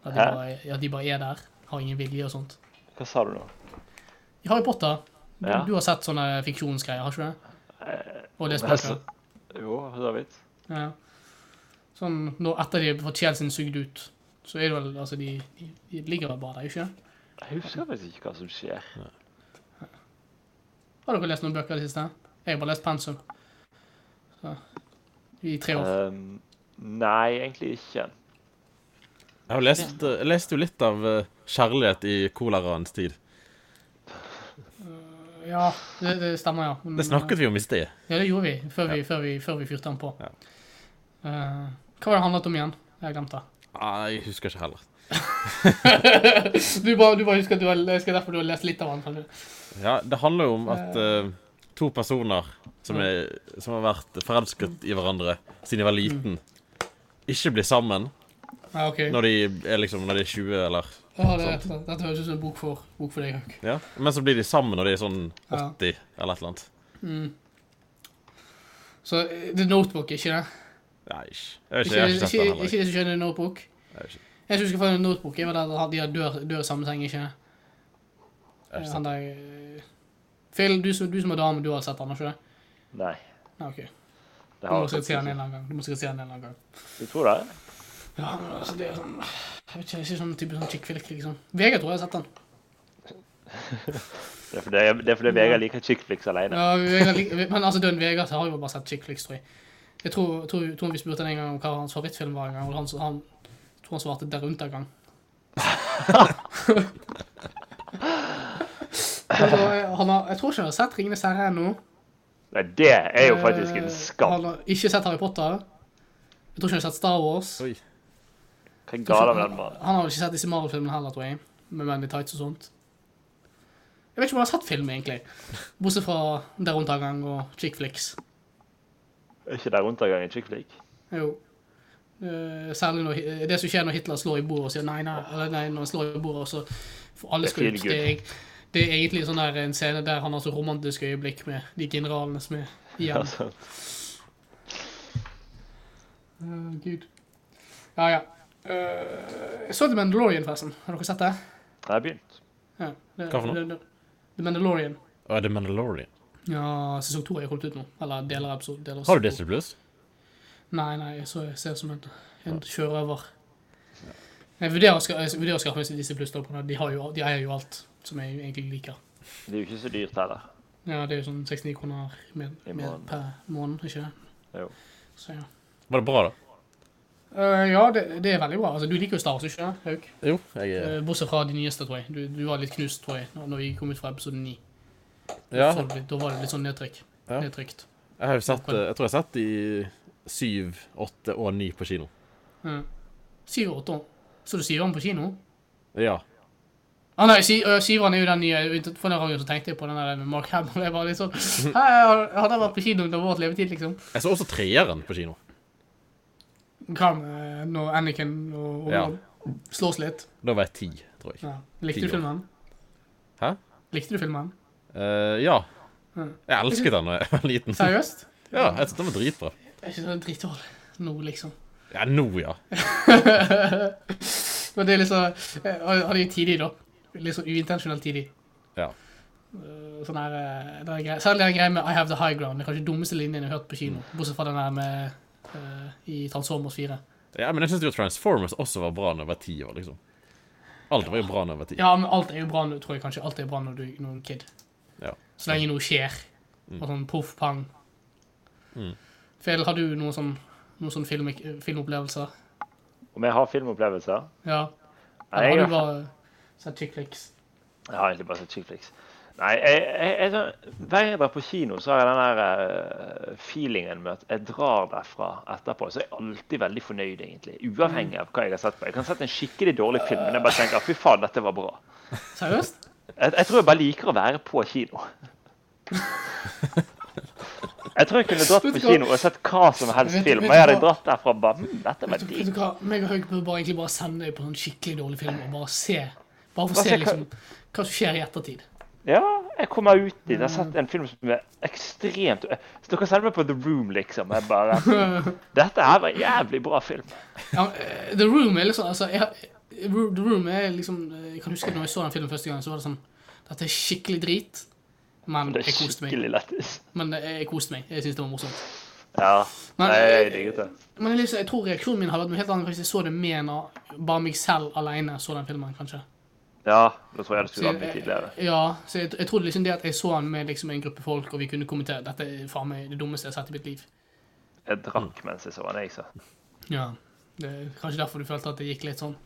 [SPEAKER 1] At de
[SPEAKER 3] Hæ?
[SPEAKER 1] bare, at de bare er der. Har ingen vilje og sånt.
[SPEAKER 3] Hva sa du nå?
[SPEAKER 1] I Harry Potter, du,
[SPEAKER 3] Ja.
[SPEAKER 1] du har sett sånne fiksjonsgreier, har ikke du det? Og det
[SPEAKER 3] altså-
[SPEAKER 1] spøker.
[SPEAKER 3] Jo, for så vidt.
[SPEAKER 1] Ja. Sånn, når etter de har fått sjelen sin sugd ut, så er det vel Altså, de, de, de ligger vel bare der, ikke sant?
[SPEAKER 3] Jeg husker faktisk ikke hva som skjer.
[SPEAKER 1] Har dere lest noen bøker i det siste? Jeg har bare lest pensum. Så, I tre år.
[SPEAKER 3] Um, nei, egentlig ikke.
[SPEAKER 2] Jeg har lest, jeg leste jo litt av eh, kjærlighet i koleraens tid.
[SPEAKER 1] Ja, det, det stemmer, ja. Men,
[SPEAKER 2] Det snakket vi om i sted.
[SPEAKER 1] Ja, det gjorde vi, før vi, før vi, før vi fyrte den på.
[SPEAKER 2] Ja.
[SPEAKER 1] Eh, hva var det handlet om igjen? Jeg har glemt det.
[SPEAKER 2] Nei, jeg husker ikke heller.
[SPEAKER 1] du, bare, du bare husker at du har, jeg husker derfor du har lest litt av den. kan du?
[SPEAKER 2] Ja, Det handler jo om at eh, to personer som, er, som har vært forelsket i hverandre siden de var liten, ikke blir sammen
[SPEAKER 1] Ja, ok.
[SPEAKER 2] når de er liksom når de er 20 eller
[SPEAKER 1] Ja, det, dette, dette høres ut som en bok for, bok for deg, Hauk.
[SPEAKER 2] ja. Men så blir de sammen når de er sånn 80 eller et eller annet.
[SPEAKER 1] Så eh, The Notebook, ikke det?
[SPEAKER 2] Nei, ikke. Jeg vet ikke,
[SPEAKER 1] Ikke,
[SPEAKER 2] jeg har
[SPEAKER 1] ikke,
[SPEAKER 2] ikke sett den heller.
[SPEAKER 1] ikke det som skjer i The Notebook?
[SPEAKER 2] Jeg vet ikke.
[SPEAKER 1] Jeg husker fra The Notebook, jeg var der han- de har dør, dør i samme seng, ikke?
[SPEAKER 2] Jeg har
[SPEAKER 1] Han
[SPEAKER 2] ikke sett den.
[SPEAKER 1] der... eh, Phil, du, som- du som er dame, du har sett den, har ikke det?
[SPEAKER 3] Nei.
[SPEAKER 1] Nei, ok.
[SPEAKER 3] Det
[SPEAKER 1] Du må
[SPEAKER 3] har
[SPEAKER 1] sikkert se
[SPEAKER 3] jeg
[SPEAKER 1] den en
[SPEAKER 3] faktisk
[SPEAKER 1] eller annen gang. Du må sikkert se den en eller annen gang.
[SPEAKER 3] ikke. Du tror det?
[SPEAKER 1] Ja, men altså, det er sånn Jeg vet ikke, ikke sånn type sånn chick-flick, liksom. VG tror jeg har sett den.
[SPEAKER 3] Det er fordi, det er fordi Vegard liker chick flicks alene.
[SPEAKER 1] Ja, Vegard, lik- men altså, Dønn Vegard har jo bare sett chick flicks, tror jeg. Jeg tror, tror, tror vi spurte han en gang om hva hans favorittfilm var en gang, og han, han tror han svarte Der rundt en gang. altså, jeg, han har, jeg tror ikke han har sett Ringenes herre ennå.
[SPEAKER 3] Nei, det er jo faktisk en
[SPEAKER 1] Eh, Han
[SPEAKER 3] skam.
[SPEAKER 1] har ikke sett Harry Potter. Jeg tror ikke han har sett Star Wars.
[SPEAKER 2] Oi.
[SPEAKER 3] Hva er galt med den mannen?
[SPEAKER 1] Han har vel ikke sett disse Marvel-filmene heller, tror jeg. Med menn i tights og sånt. Jeg vet ikke om han har sett film, egentlig. Bortsett fra Der rundt en gang og Chick Flicks.
[SPEAKER 3] Er ikke der rundt en gang en chick flick?
[SPEAKER 1] Jo. Eh, Særlig når, eh, det som skjer når Hitler slår i bordet og sier nei, nei, eller nei, når han slår i bordet og så får alle
[SPEAKER 3] Det er
[SPEAKER 1] skal ut.
[SPEAKER 3] feel good.
[SPEAKER 1] Det er, eg- det er egentlig sånn der, en scene der han har så romantiske øyeblikk med de generalene som er
[SPEAKER 3] Ja,
[SPEAKER 1] igjen.
[SPEAKER 3] sant.
[SPEAKER 1] Eh, Gud. Ja, ja. Eh, jeg så The Mandalorian, forresten. Har dere sett det?
[SPEAKER 3] Jeg har begynt.
[SPEAKER 1] Ja. det
[SPEAKER 2] Hva for noe?
[SPEAKER 1] det- det- The Mandalorian.
[SPEAKER 2] Å, er det Mandalorian?
[SPEAKER 1] Ja, sesong to er jo kommet ut nå. Eller deler av episode. Deler av
[SPEAKER 2] Har du
[SPEAKER 1] sesong to.
[SPEAKER 2] Disney Plus?
[SPEAKER 1] Nei, nei, jeg, så, jeg ser det som en, en sjørøver. Jeg vurderer å ska- jeg vurderer å skaffe meg disse plusstoppene. De, har jo- de eier jo alt som jeg egentlig liker.
[SPEAKER 3] Det er jo ikke så dyrt heller.
[SPEAKER 1] Ja, det er jo sånn 69 kroner med,
[SPEAKER 3] I
[SPEAKER 1] med
[SPEAKER 3] måneden.
[SPEAKER 1] per måned, ikke det?
[SPEAKER 3] Jo.
[SPEAKER 1] Så ja.
[SPEAKER 2] Var det bra, da?
[SPEAKER 1] Eh, ja, det, det er veldig bra. Altså, du liker jo Star Wars, ikke sant, Hauk?
[SPEAKER 2] Jo, jeg er
[SPEAKER 1] Eh, bortsett fra de nyeste, tror jeg. Du, du var litt knust, tror jeg, når- når vi kom ut fra episode 9.
[SPEAKER 2] Ja,
[SPEAKER 1] Så det- Da var det litt sånn nedtrykk.
[SPEAKER 2] Ja.
[SPEAKER 1] Nedtrykt.
[SPEAKER 2] jeg har jo sett eh, Jeg tror jeg har sett de syv, åtte og ni på kino.
[SPEAKER 1] Ja. Syv og åtte år. Så du syveren på kino?
[SPEAKER 2] Ja.
[SPEAKER 1] Ah, nei, sy- øh, syveren er jo den nye. ut- For den gangen så tenkte jeg på den der med Mark Hamill. Jeg var litt sånn, hei, Hadde jeg vært på kino under vårt levetid, liksom?
[SPEAKER 2] Jeg så også treeren på kino.
[SPEAKER 1] Hva med eh, når Anakin og
[SPEAKER 2] Ja.
[SPEAKER 1] Obi-Wan slås litt?
[SPEAKER 2] Da var jeg ti, tror jeg.
[SPEAKER 1] Ja. Likte
[SPEAKER 2] Ti
[SPEAKER 1] du
[SPEAKER 2] år.
[SPEAKER 1] filmen?
[SPEAKER 2] Hæ?
[SPEAKER 1] Likte du filmen?
[SPEAKER 2] Eh, ja.
[SPEAKER 1] Mm.
[SPEAKER 2] Jeg elsket den da jeg var liten.
[SPEAKER 1] Seriøst?
[SPEAKER 2] Ja, jeg syntes den var dritbra.
[SPEAKER 1] Jeg synes den er dritdårlig nå, liksom.
[SPEAKER 2] Ja, nå, ja.
[SPEAKER 1] Men det er liksom eh, Han han er jo tidlig, da. Litt sånn uintensjonelt tidlig.
[SPEAKER 2] Ja.
[SPEAKER 1] Eh, Sånn her, eh, det er grei- Særlig den greia med I have the high ground. Det er kanskje dummeste linjen jeg har hørt på kino.
[SPEAKER 2] Mm.
[SPEAKER 1] Bortsett fra den der med eh, i Transformers 4.
[SPEAKER 2] ja men jeg syns jo Transformers også var bra når jeg var ti år, liksom. Alt var jo bra når jeg var ti.
[SPEAKER 1] Ja, men alt er jo bra nå, tror jeg kanskje. Alt er bra når du når du er en kid.
[SPEAKER 2] Ja.
[SPEAKER 1] Så lenge noe skjer. Og sånn poff, pang.
[SPEAKER 2] Mm.
[SPEAKER 1] Fel, har du noen sånn, noen sånn film, filmopplevelser?
[SPEAKER 3] Om jeg har filmopplevelser?
[SPEAKER 1] Ja.
[SPEAKER 3] Nei,
[SPEAKER 1] Eller har
[SPEAKER 3] jeg,
[SPEAKER 1] du
[SPEAKER 3] har,
[SPEAKER 1] bare sett chick flicks?
[SPEAKER 3] jeg har egentlig bare sett Chickflix. Nei, jeg, jeg, jeg, sånn- hver gang jeg drar på kino, så har jeg den der eh, feelingen med at jeg drar derfra etterpå. Så er jeg alltid veldig fornøyd, egentlig. Uavhengig av hva jeg har sett på. Jeg kan sett en skikkelig dårlig film, men jeg bare tenker fy faen, dette var bra.
[SPEAKER 1] Seriøst?
[SPEAKER 3] Jeg, jeg tror jeg bare liker å være på kino. Jeg tror jeg kunne dratt
[SPEAKER 1] Vet
[SPEAKER 3] på
[SPEAKER 1] du hva?
[SPEAKER 3] kino og sett hva som helst
[SPEAKER 1] Vet du-
[SPEAKER 3] film.
[SPEAKER 1] vet
[SPEAKER 3] Og
[SPEAKER 1] du
[SPEAKER 3] jeg hadde
[SPEAKER 1] hva?
[SPEAKER 3] dratt derfra og bare hm, Dette var
[SPEAKER 1] Vet du- vet
[SPEAKER 3] digg.
[SPEAKER 1] du hva, meg og Haug bør bare, egentlig bare sende deg på en skikkelig dårlig film og bare se. Bare for
[SPEAKER 3] Bare
[SPEAKER 1] å se
[SPEAKER 3] se hva-
[SPEAKER 1] liksom, hva som skjer i ettertid.
[SPEAKER 3] Ja, jeg kommer ut dit. Jeg har sett en film som er ekstremt Så Dere sender meg på The Room, liksom. Jeg bare Dette her var en jævlig bra film.
[SPEAKER 1] Ja, men, eh, The Room er liksom altså, jeg, har- The Room er liksom eh, Jeg kan huske at når jeg så den filmen første gang, så var det sånn Dette er skikkelig drit, men
[SPEAKER 3] Det er
[SPEAKER 1] jeg koste meg.
[SPEAKER 3] skikkelig lættis.
[SPEAKER 1] Men eh, jeg koste meg. Jeg syntes det var morsomt.
[SPEAKER 3] Ja.
[SPEAKER 1] Men,
[SPEAKER 3] Nei, jeg
[SPEAKER 1] eh,
[SPEAKER 3] digget det.
[SPEAKER 1] men jeg, liksom, jeg tror reaksjonen min hadde vært noe helt annet hvis jeg så det med en av bare meg selv alene så den filmen, kanskje.
[SPEAKER 3] Ja, da tror jeg det
[SPEAKER 1] Så
[SPEAKER 3] skulle vært mye
[SPEAKER 1] jeg-
[SPEAKER 3] tidligere.
[SPEAKER 1] Ja, så jeg, jeg trodde liksom det at jeg så den med liksom en gruppe folk, og vi kunne kommentere dette er faen meg det dummeste jeg har sett i mitt liv.
[SPEAKER 3] Jeg drakk mens jeg så den, jeg, så.
[SPEAKER 1] Ja, det er kanskje derfor du følte at det gikk litt sånn.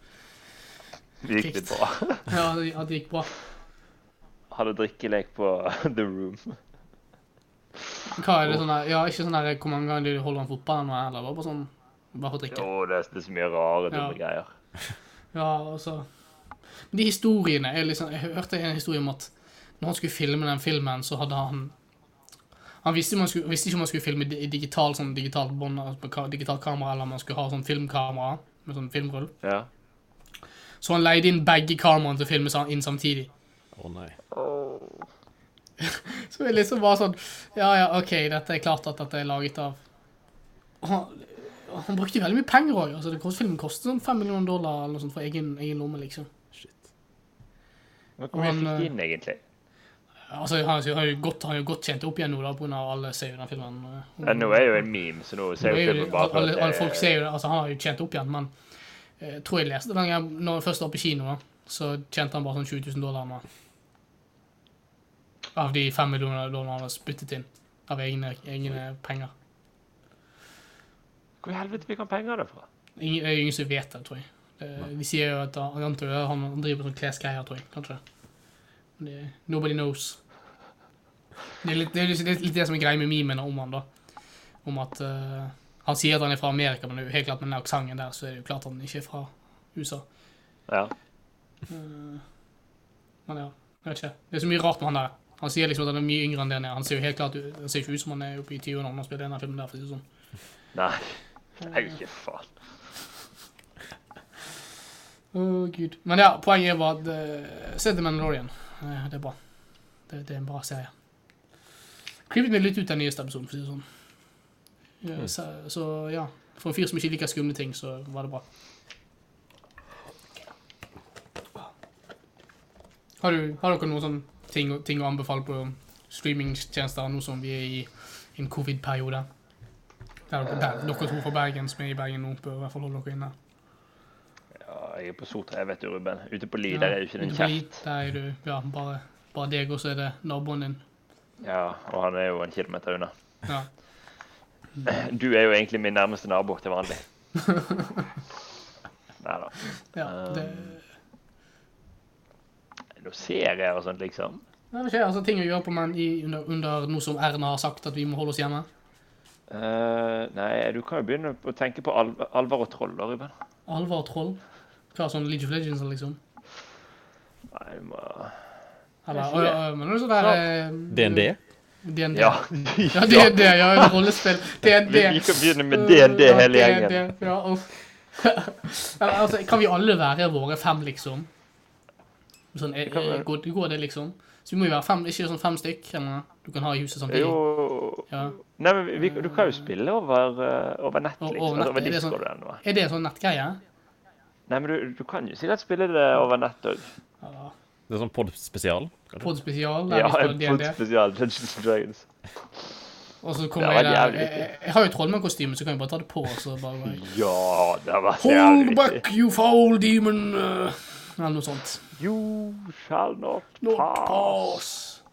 [SPEAKER 3] Det gikk litt bra.
[SPEAKER 1] Ja, det- at det gikk bra.
[SPEAKER 3] Hadde drikkelek på The Room.
[SPEAKER 1] Hva er det sånn der, ja, ikke sånn der hvor mange ganger du holder en fotball eller noe, eller bare, bare sånn, bare for å
[SPEAKER 3] Å,
[SPEAKER 1] drikke.
[SPEAKER 3] det er det er så mye rare, dumme
[SPEAKER 1] Ja.
[SPEAKER 3] greier.
[SPEAKER 1] Ja, og så. Men de historiene, er liksom, jeg hørte en historie om at når han skulle filme den filmen, så hadde han, han visste, man skulle, visste ikke om han skulle filme i digital, sånn digital bånd, altså på ka- digital kamera, eller om han skulle ha sånn filmkamera, med sånn filmrull.
[SPEAKER 3] Ja.
[SPEAKER 1] Så han leide inn begge kameraene til å filme sam- inn samtidig.
[SPEAKER 2] Å nei.
[SPEAKER 1] Så vi liksom bare sånn Ja, ja, OK, dette er klart at dette er laget av Og Han, og han brukte jo veldig mye penger òg. Altså, det kost- filmen kostet sånn 5 millioner dollar eller noe sånt for egen, egen lomme, liksom.
[SPEAKER 2] Shit.
[SPEAKER 3] Men Hvor mye
[SPEAKER 1] Han,
[SPEAKER 3] fikk
[SPEAKER 1] eh,
[SPEAKER 3] de inn, egentlig?
[SPEAKER 1] Altså, Han han har jo godt, han har jo godt tjent opp igjen nå, da, på grunn av alle ser jo den filmen. eh,
[SPEAKER 3] Ja, nå er jo en meme, så nå ser
[SPEAKER 1] Det
[SPEAKER 3] jo
[SPEAKER 1] er jo,
[SPEAKER 3] filmen bare for
[SPEAKER 1] alle, alle folk
[SPEAKER 3] at eh, det
[SPEAKER 1] ser jo det. Altså, han har jo tjent opp igjen, men eh, jeg tror jeg leste den gangen når han først var på kino, da, så tjente han bare sånn 20 000 dollar nå. Av de 5 millioner dollar han har spyttet inn av egne, egne penger.
[SPEAKER 3] Hvor i helvete fikk han penger derfra?
[SPEAKER 1] Ingen, det er ingen som vet det, tror jeg. Eh, De sier jo at han, jeg antar jo at han han driver med sånn klesgreier, tror jeg. Kanskje. Men Det, nobody knows. Det er, litt, det, er litt, det er litt det som er greia med memene om han da. Om at eh, han sier at han er fra Amerika, men det er jo helt klart med den aksenten der, så er det jo klart han ikke er fra USA.
[SPEAKER 3] Ja.
[SPEAKER 1] Eh, men ja, jeg vet ikke. Det er så mye rart med han der. Han sier liksom at han er mye yngre enn det han er. Han ser jo helt klart ut- han ser ikke ut som han er oppe i 20 år når han spiller denne filmen der, for å si det sånn.
[SPEAKER 3] Nei. Nei, ikke faen.
[SPEAKER 1] Å, gud. Men ja, poenget var at eh, Se The Mandalorian. Eh, Det er bra. Det, det er en bra serie. Klippet meg litt ut den nyeste episoden, for å si det sånn. Ja, så, så ja. For en fyr som ikke liker skumle ting, så var det bra. Har, du, har dere noen sånne ting, å- ting å anbefale på streamingtjenester nå som vi er i en covid-periode? Der, dere- der dere to fra Bergen som er i Bergen nå, bør i hvert fall holde dere inne.
[SPEAKER 3] Ja, jeg er på Sotra, jeg vet jo, Ruben. Ute på Li, der er jo ikke den
[SPEAKER 1] Ute på
[SPEAKER 3] kjeft.
[SPEAKER 1] Lit, Der er du, ja, bare, bare deg, og så er det naboen din.
[SPEAKER 3] Ja, og han er jo en kilometer unna.
[SPEAKER 1] Ja.
[SPEAKER 3] Du er jo egentlig min nærmeste nabo til vanlig. Nei da.
[SPEAKER 1] ja
[SPEAKER 3] Um.
[SPEAKER 1] det,
[SPEAKER 3] Nå ser jeg og sånt, liksom.
[SPEAKER 1] det er ikke altså, ting å gjøre på, men i, under, under noe som Erna har sagt at vi må holde oss hjemme.
[SPEAKER 3] Eh, nei, du kan jo begynne å tenke på alv alver og troll, da, Ruben.
[SPEAKER 1] Alvor og troll. Hva sånn League of Legends, liksom?
[SPEAKER 3] Nei, du må
[SPEAKER 1] Eller,
[SPEAKER 3] Jeg
[SPEAKER 1] og,
[SPEAKER 3] sier-
[SPEAKER 1] og, men det er sånn der eh,
[SPEAKER 2] DND?
[SPEAKER 1] DND.
[SPEAKER 3] Ja.
[SPEAKER 1] Ja. Ja, DND, ja, rollespill. DND.
[SPEAKER 3] Vi, vi kan begynne med DND hele
[SPEAKER 1] Mm, Ja,
[SPEAKER 3] gjengen.
[SPEAKER 1] DND, Ja, uff. Ja, altså, kan vi alle være våre fem, liksom? Sånn, er,
[SPEAKER 3] kan være-
[SPEAKER 1] er, går, går det, liksom? Så vi må jo være fem, ikke sånn fem stykk, eller noe du kan ha i huset samtidig.
[SPEAKER 3] Jo
[SPEAKER 1] Ja.
[SPEAKER 3] Nei, men vi, du kan jo spille over, eh, over nett,
[SPEAKER 1] Over
[SPEAKER 3] liksom. altså, over
[SPEAKER 1] nettet, er det sånn?
[SPEAKER 3] Discord eller noe.
[SPEAKER 1] Er det en sånn nettgreie?
[SPEAKER 3] Nei, men du, du kan jo sikkert spille det over nett òg.
[SPEAKER 1] Ja,
[SPEAKER 2] Det er sånn pod-spesial?
[SPEAKER 1] Pod spesial, der
[SPEAKER 3] Ja,
[SPEAKER 1] vi spiller
[SPEAKER 3] en
[SPEAKER 1] DND.
[SPEAKER 3] spesial Dungeons and Dragons.
[SPEAKER 1] Og så kommer jeg
[SPEAKER 3] Det var
[SPEAKER 1] der.
[SPEAKER 3] jævlig
[SPEAKER 1] Jeg, jeg, jeg har jo trollmannkostyme, så kan jeg bare ta det på, og så bare
[SPEAKER 3] Ja, det har vært jævlig
[SPEAKER 1] Hold
[SPEAKER 3] viktig.
[SPEAKER 1] back, you foul demon! uh, Eller noe sånt.
[SPEAKER 3] You shall not
[SPEAKER 1] Not
[SPEAKER 3] pass.
[SPEAKER 1] pass.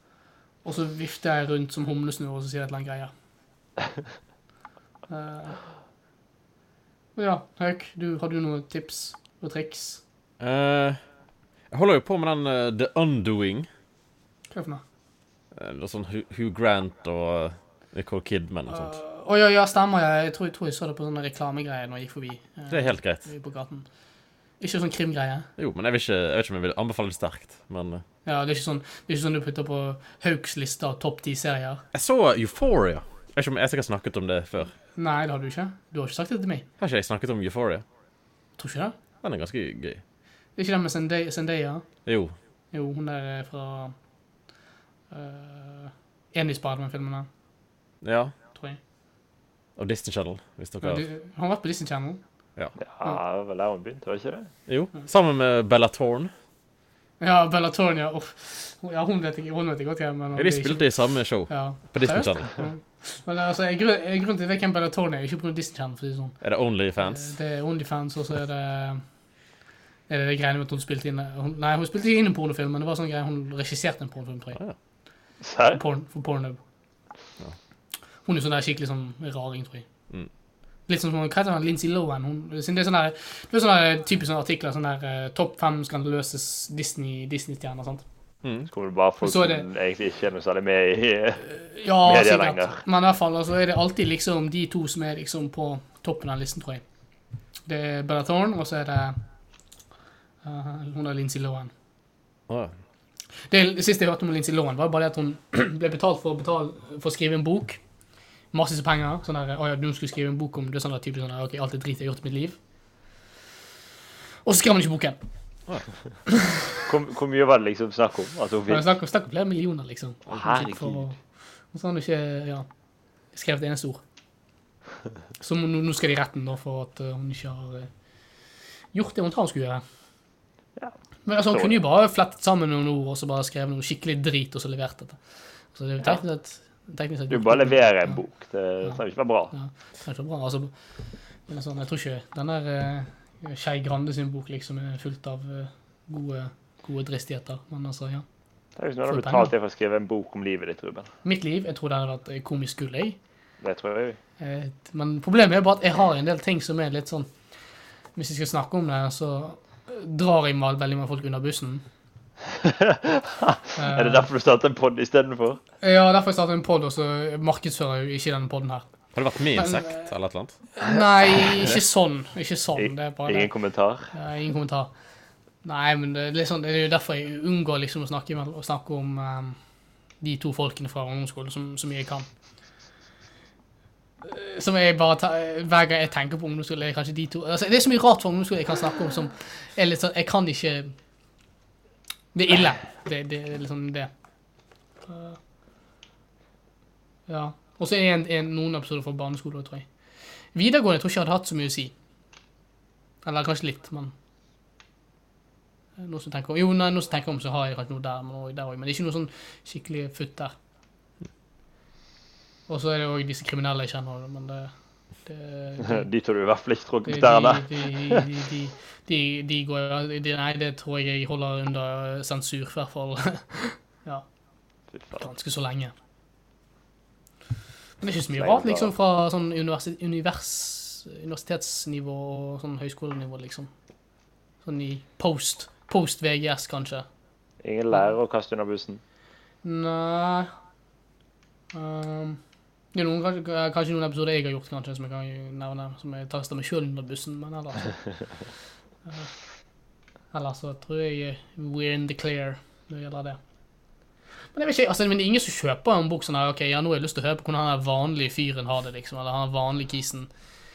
[SPEAKER 1] Og så vifter jeg rundt som humlesnurr og så sier jeg et eller annet greier. Eh, ja, Hauk, du, har du noen tips og triks?
[SPEAKER 2] Eh, jeg holder jo på med den eh, The Undoing.
[SPEAKER 1] Hva er det for noe?
[SPEAKER 2] Eh, det er sånn Hugh Hugh Grant og eh, Nicole Kidman og sånt.
[SPEAKER 1] Eh, Å ja, ja, stemmer. Jeg, jeg, tror, jeg tror jeg så det på sånne reklamegreier når jeg gikk forbi. eh,
[SPEAKER 2] Det er helt greit.
[SPEAKER 1] forbi på gaten. Ikke sånn krimgreie.
[SPEAKER 2] Jo, men jeg, vil ikke, jeg vet ikke om jeg vil anbefale det sterkt. Men eh,
[SPEAKER 1] Ja, det er ikke sånn, det er ikke sånn du putter på Hauks liste av topp ti serier.
[SPEAKER 2] jeg så Euphoria. Jeg vet ikke om jeg sikkert snakket om det før.
[SPEAKER 1] Nei, det har du ikke. Du har ikke sagt det til meg.
[SPEAKER 2] Har ikke jeg snakket om Euphoria?
[SPEAKER 1] Tror ikke det.
[SPEAKER 2] Den er ganske gøy.
[SPEAKER 1] Det er ikke den med Zendaya- Zendaya.
[SPEAKER 2] Jo.
[SPEAKER 1] Jo, hun der er fra uh, En i Spiderman-filmene,
[SPEAKER 2] Ja.
[SPEAKER 1] tror jeg.
[SPEAKER 2] Og Disney Channel, hvis
[SPEAKER 1] Ja,
[SPEAKER 2] dere
[SPEAKER 1] du, hun har vært på Disney Channel.
[SPEAKER 3] Ja, det var vel der hun begynte, var det ikke det?
[SPEAKER 2] Jo. Sammen med Bella Thorne.
[SPEAKER 1] Ja, Bella Thorne, ja. uff. Hun- ja hun, vet ikke, hun vet ikke godt hvem. men
[SPEAKER 2] Ja,
[SPEAKER 1] det er
[SPEAKER 2] De
[SPEAKER 1] ikke-
[SPEAKER 2] spilte i samme show
[SPEAKER 1] ja.
[SPEAKER 2] på Disney
[SPEAKER 1] Seriøst?
[SPEAKER 2] Channel.
[SPEAKER 1] Ja. Men altså, jeg, grunn, jeg, grunnen til at jeg vet hvem Bella Thorne er, er ikke pga. Disney Channel. for å si det sånn.
[SPEAKER 2] Er det Onlyfans?
[SPEAKER 1] Det er OnlyFans, og så er det er det det greiene med at hun spilte inn hun, Nei, hun spilte ikke inn en pornofilm, men det var sånn greie, hun regisserte en pornofilm. tror jeg.
[SPEAKER 3] Serr?
[SPEAKER 1] Porn, for Pornhub.
[SPEAKER 2] Ja.
[SPEAKER 1] Hun er sånn der skikkelig sånn raring, tror jeg.
[SPEAKER 2] Mm.
[SPEAKER 1] Litt sånn som hva heter hun, Lindsay Lohan. Hun, siden det er sånn der, det er sånne der, typisk sånne artikler, sånn der eh, topp fem skandaløse s- Disney- Disney-stjerner. sant?
[SPEAKER 2] Mm.
[SPEAKER 3] Så kommer det bare folk
[SPEAKER 1] Så er
[SPEAKER 3] som
[SPEAKER 1] det-
[SPEAKER 3] egentlig ikke er noe særlig med i
[SPEAKER 1] Ja,
[SPEAKER 3] Mer eller
[SPEAKER 1] sikkert.
[SPEAKER 3] lenger.
[SPEAKER 1] Men i hvert fall altså, er det alltid liksom de to som er liksom på toppen av listen, tror jeg. Det er Bella Thorne, og så er det eh, hun er Lindsay Lohan.
[SPEAKER 2] Å, ja.
[SPEAKER 1] Det siste jeg hørte om Lindsay Lohan, var bare det at hun ble betalt for å, betale, for å skrive en bok. Masse penger. Sånn der, å ja, du skulle skrive en bok om det er sånn der, typisk sånn der, ok, alt det drit jeg har gjort i mitt liv. Og så skrev hun ikke boken.
[SPEAKER 3] Hvor hvor mye var det liksom snakk om? Altså, hun
[SPEAKER 1] Det
[SPEAKER 3] fikk
[SPEAKER 1] er snakk, snakk om flere millioner, liksom.
[SPEAKER 3] Å, herregud.
[SPEAKER 1] For å- Og så har hun ikke ja, skrevet et eneste ord. Så må- nå, nå skal de i retten da, for at eh, hun ikke har eh, gjort det hun tar hun skulle gjøre.
[SPEAKER 3] Ja.
[SPEAKER 1] Men altså, hun
[SPEAKER 3] Så-
[SPEAKER 1] kunne jo bare flettet sammen noen ord og så bare skrevet noe skikkelig drit og så levert det. Så det er jo teknisk sett, teknisk sett
[SPEAKER 3] Du bare leverer en
[SPEAKER 1] Ja.
[SPEAKER 3] bok. Det trenger ikke være bra.
[SPEAKER 1] Det er så bra. Altså, men sånn, jeg tror ikke den der eh, Skei Grande sin bok liksom er fullt av eh, gode, gode dristigheter. Men altså, ja.
[SPEAKER 3] Tenk hvis noen
[SPEAKER 1] Får
[SPEAKER 3] hadde
[SPEAKER 1] du
[SPEAKER 3] betalt deg for å skrive en bok om livet ditt, Ruben.
[SPEAKER 1] Mitt liv, jeg tror det hadde vært eh, komisk gull, jeg.
[SPEAKER 3] Det tror jeg.
[SPEAKER 1] Eh, Men problemet er bare at jeg har en del ting som er litt sånn Hvis jeg skal snakke om det, så eh, drar jeg mal- veldig mange folk under bussen.
[SPEAKER 3] Er
[SPEAKER 1] Eh.
[SPEAKER 3] det derfor du startet en pod istedenfor?
[SPEAKER 1] Ja, derfor jeg startet en pod, og så markedsfører jeg jo ikke denne poden her.
[SPEAKER 2] Har det vært med insekt eller et eller annet?
[SPEAKER 1] Nei, ikke sånn. Ikke sånn. Det er bare det.
[SPEAKER 3] Ingen kommentar?
[SPEAKER 1] Ja, ingen kommentar. Nei, men det er, litt sånn, det er jo derfor jeg unngår liksom å snakke, imell- å snakke om ehm, de to folkene fra ungdomsskolen som, så mye jeg kan. Eh, Som jeg bare ta, Hver gang jeg tenker på ungdomsskole, er kanskje de to altså, Det er så mye rart fra ungdomsskolen jeg kan snakke om som er litt sånn Jeg kan ikke Det er ille. Det, det er liksom det. Eh, Ja. Og så er en, en, noen episoder fra barneskole, tror jeg. Videregående tror jeg ikke jeg hadde hatt så mye å si. Eller kanskje litt, men Eh, noe som tenker om. Jo, nei, noe som tenker om, så har jeg kanskje noe der, men, også der også. men det er ikke noe sånn skikkelig futt der. Og så er det òg disse kriminelle jeg kjenner, men det, det, det,
[SPEAKER 3] De tror du i hvert fall ikke
[SPEAKER 1] det
[SPEAKER 3] tråkket
[SPEAKER 1] de,
[SPEAKER 3] tærne.
[SPEAKER 1] de, de, de, de, de går jo de, Nei, det tror jeg jeg holder under sensur, i hvert fall. ja,
[SPEAKER 3] Fy faen.
[SPEAKER 1] ganske så lenge. Men det er ikke så mye rart liksom, fra sånn universi- univers, universitetsnivå og sånn høyskolenivå, liksom. Sånn i post, post VGS, kanskje.
[SPEAKER 3] Ingen lærer å kaste under bussen.
[SPEAKER 1] Nei Ehm, Det er noen, kanskje, kanskje noen episoder jeg har gjort, kanskje, som jeg kan nevne, som jeg kaster meg sjøl under bussen, men ellers så Eh, Ellers så tror jeg we're in the clear når det gjelder det. Men jeg vet ikke, altså, men det er ingen som kjøper en bok sånn her, ok, ja, nå har jeg lyst til å høre på hvordan han der vanlige fyren har det, liksom, eller han vanlige kisen.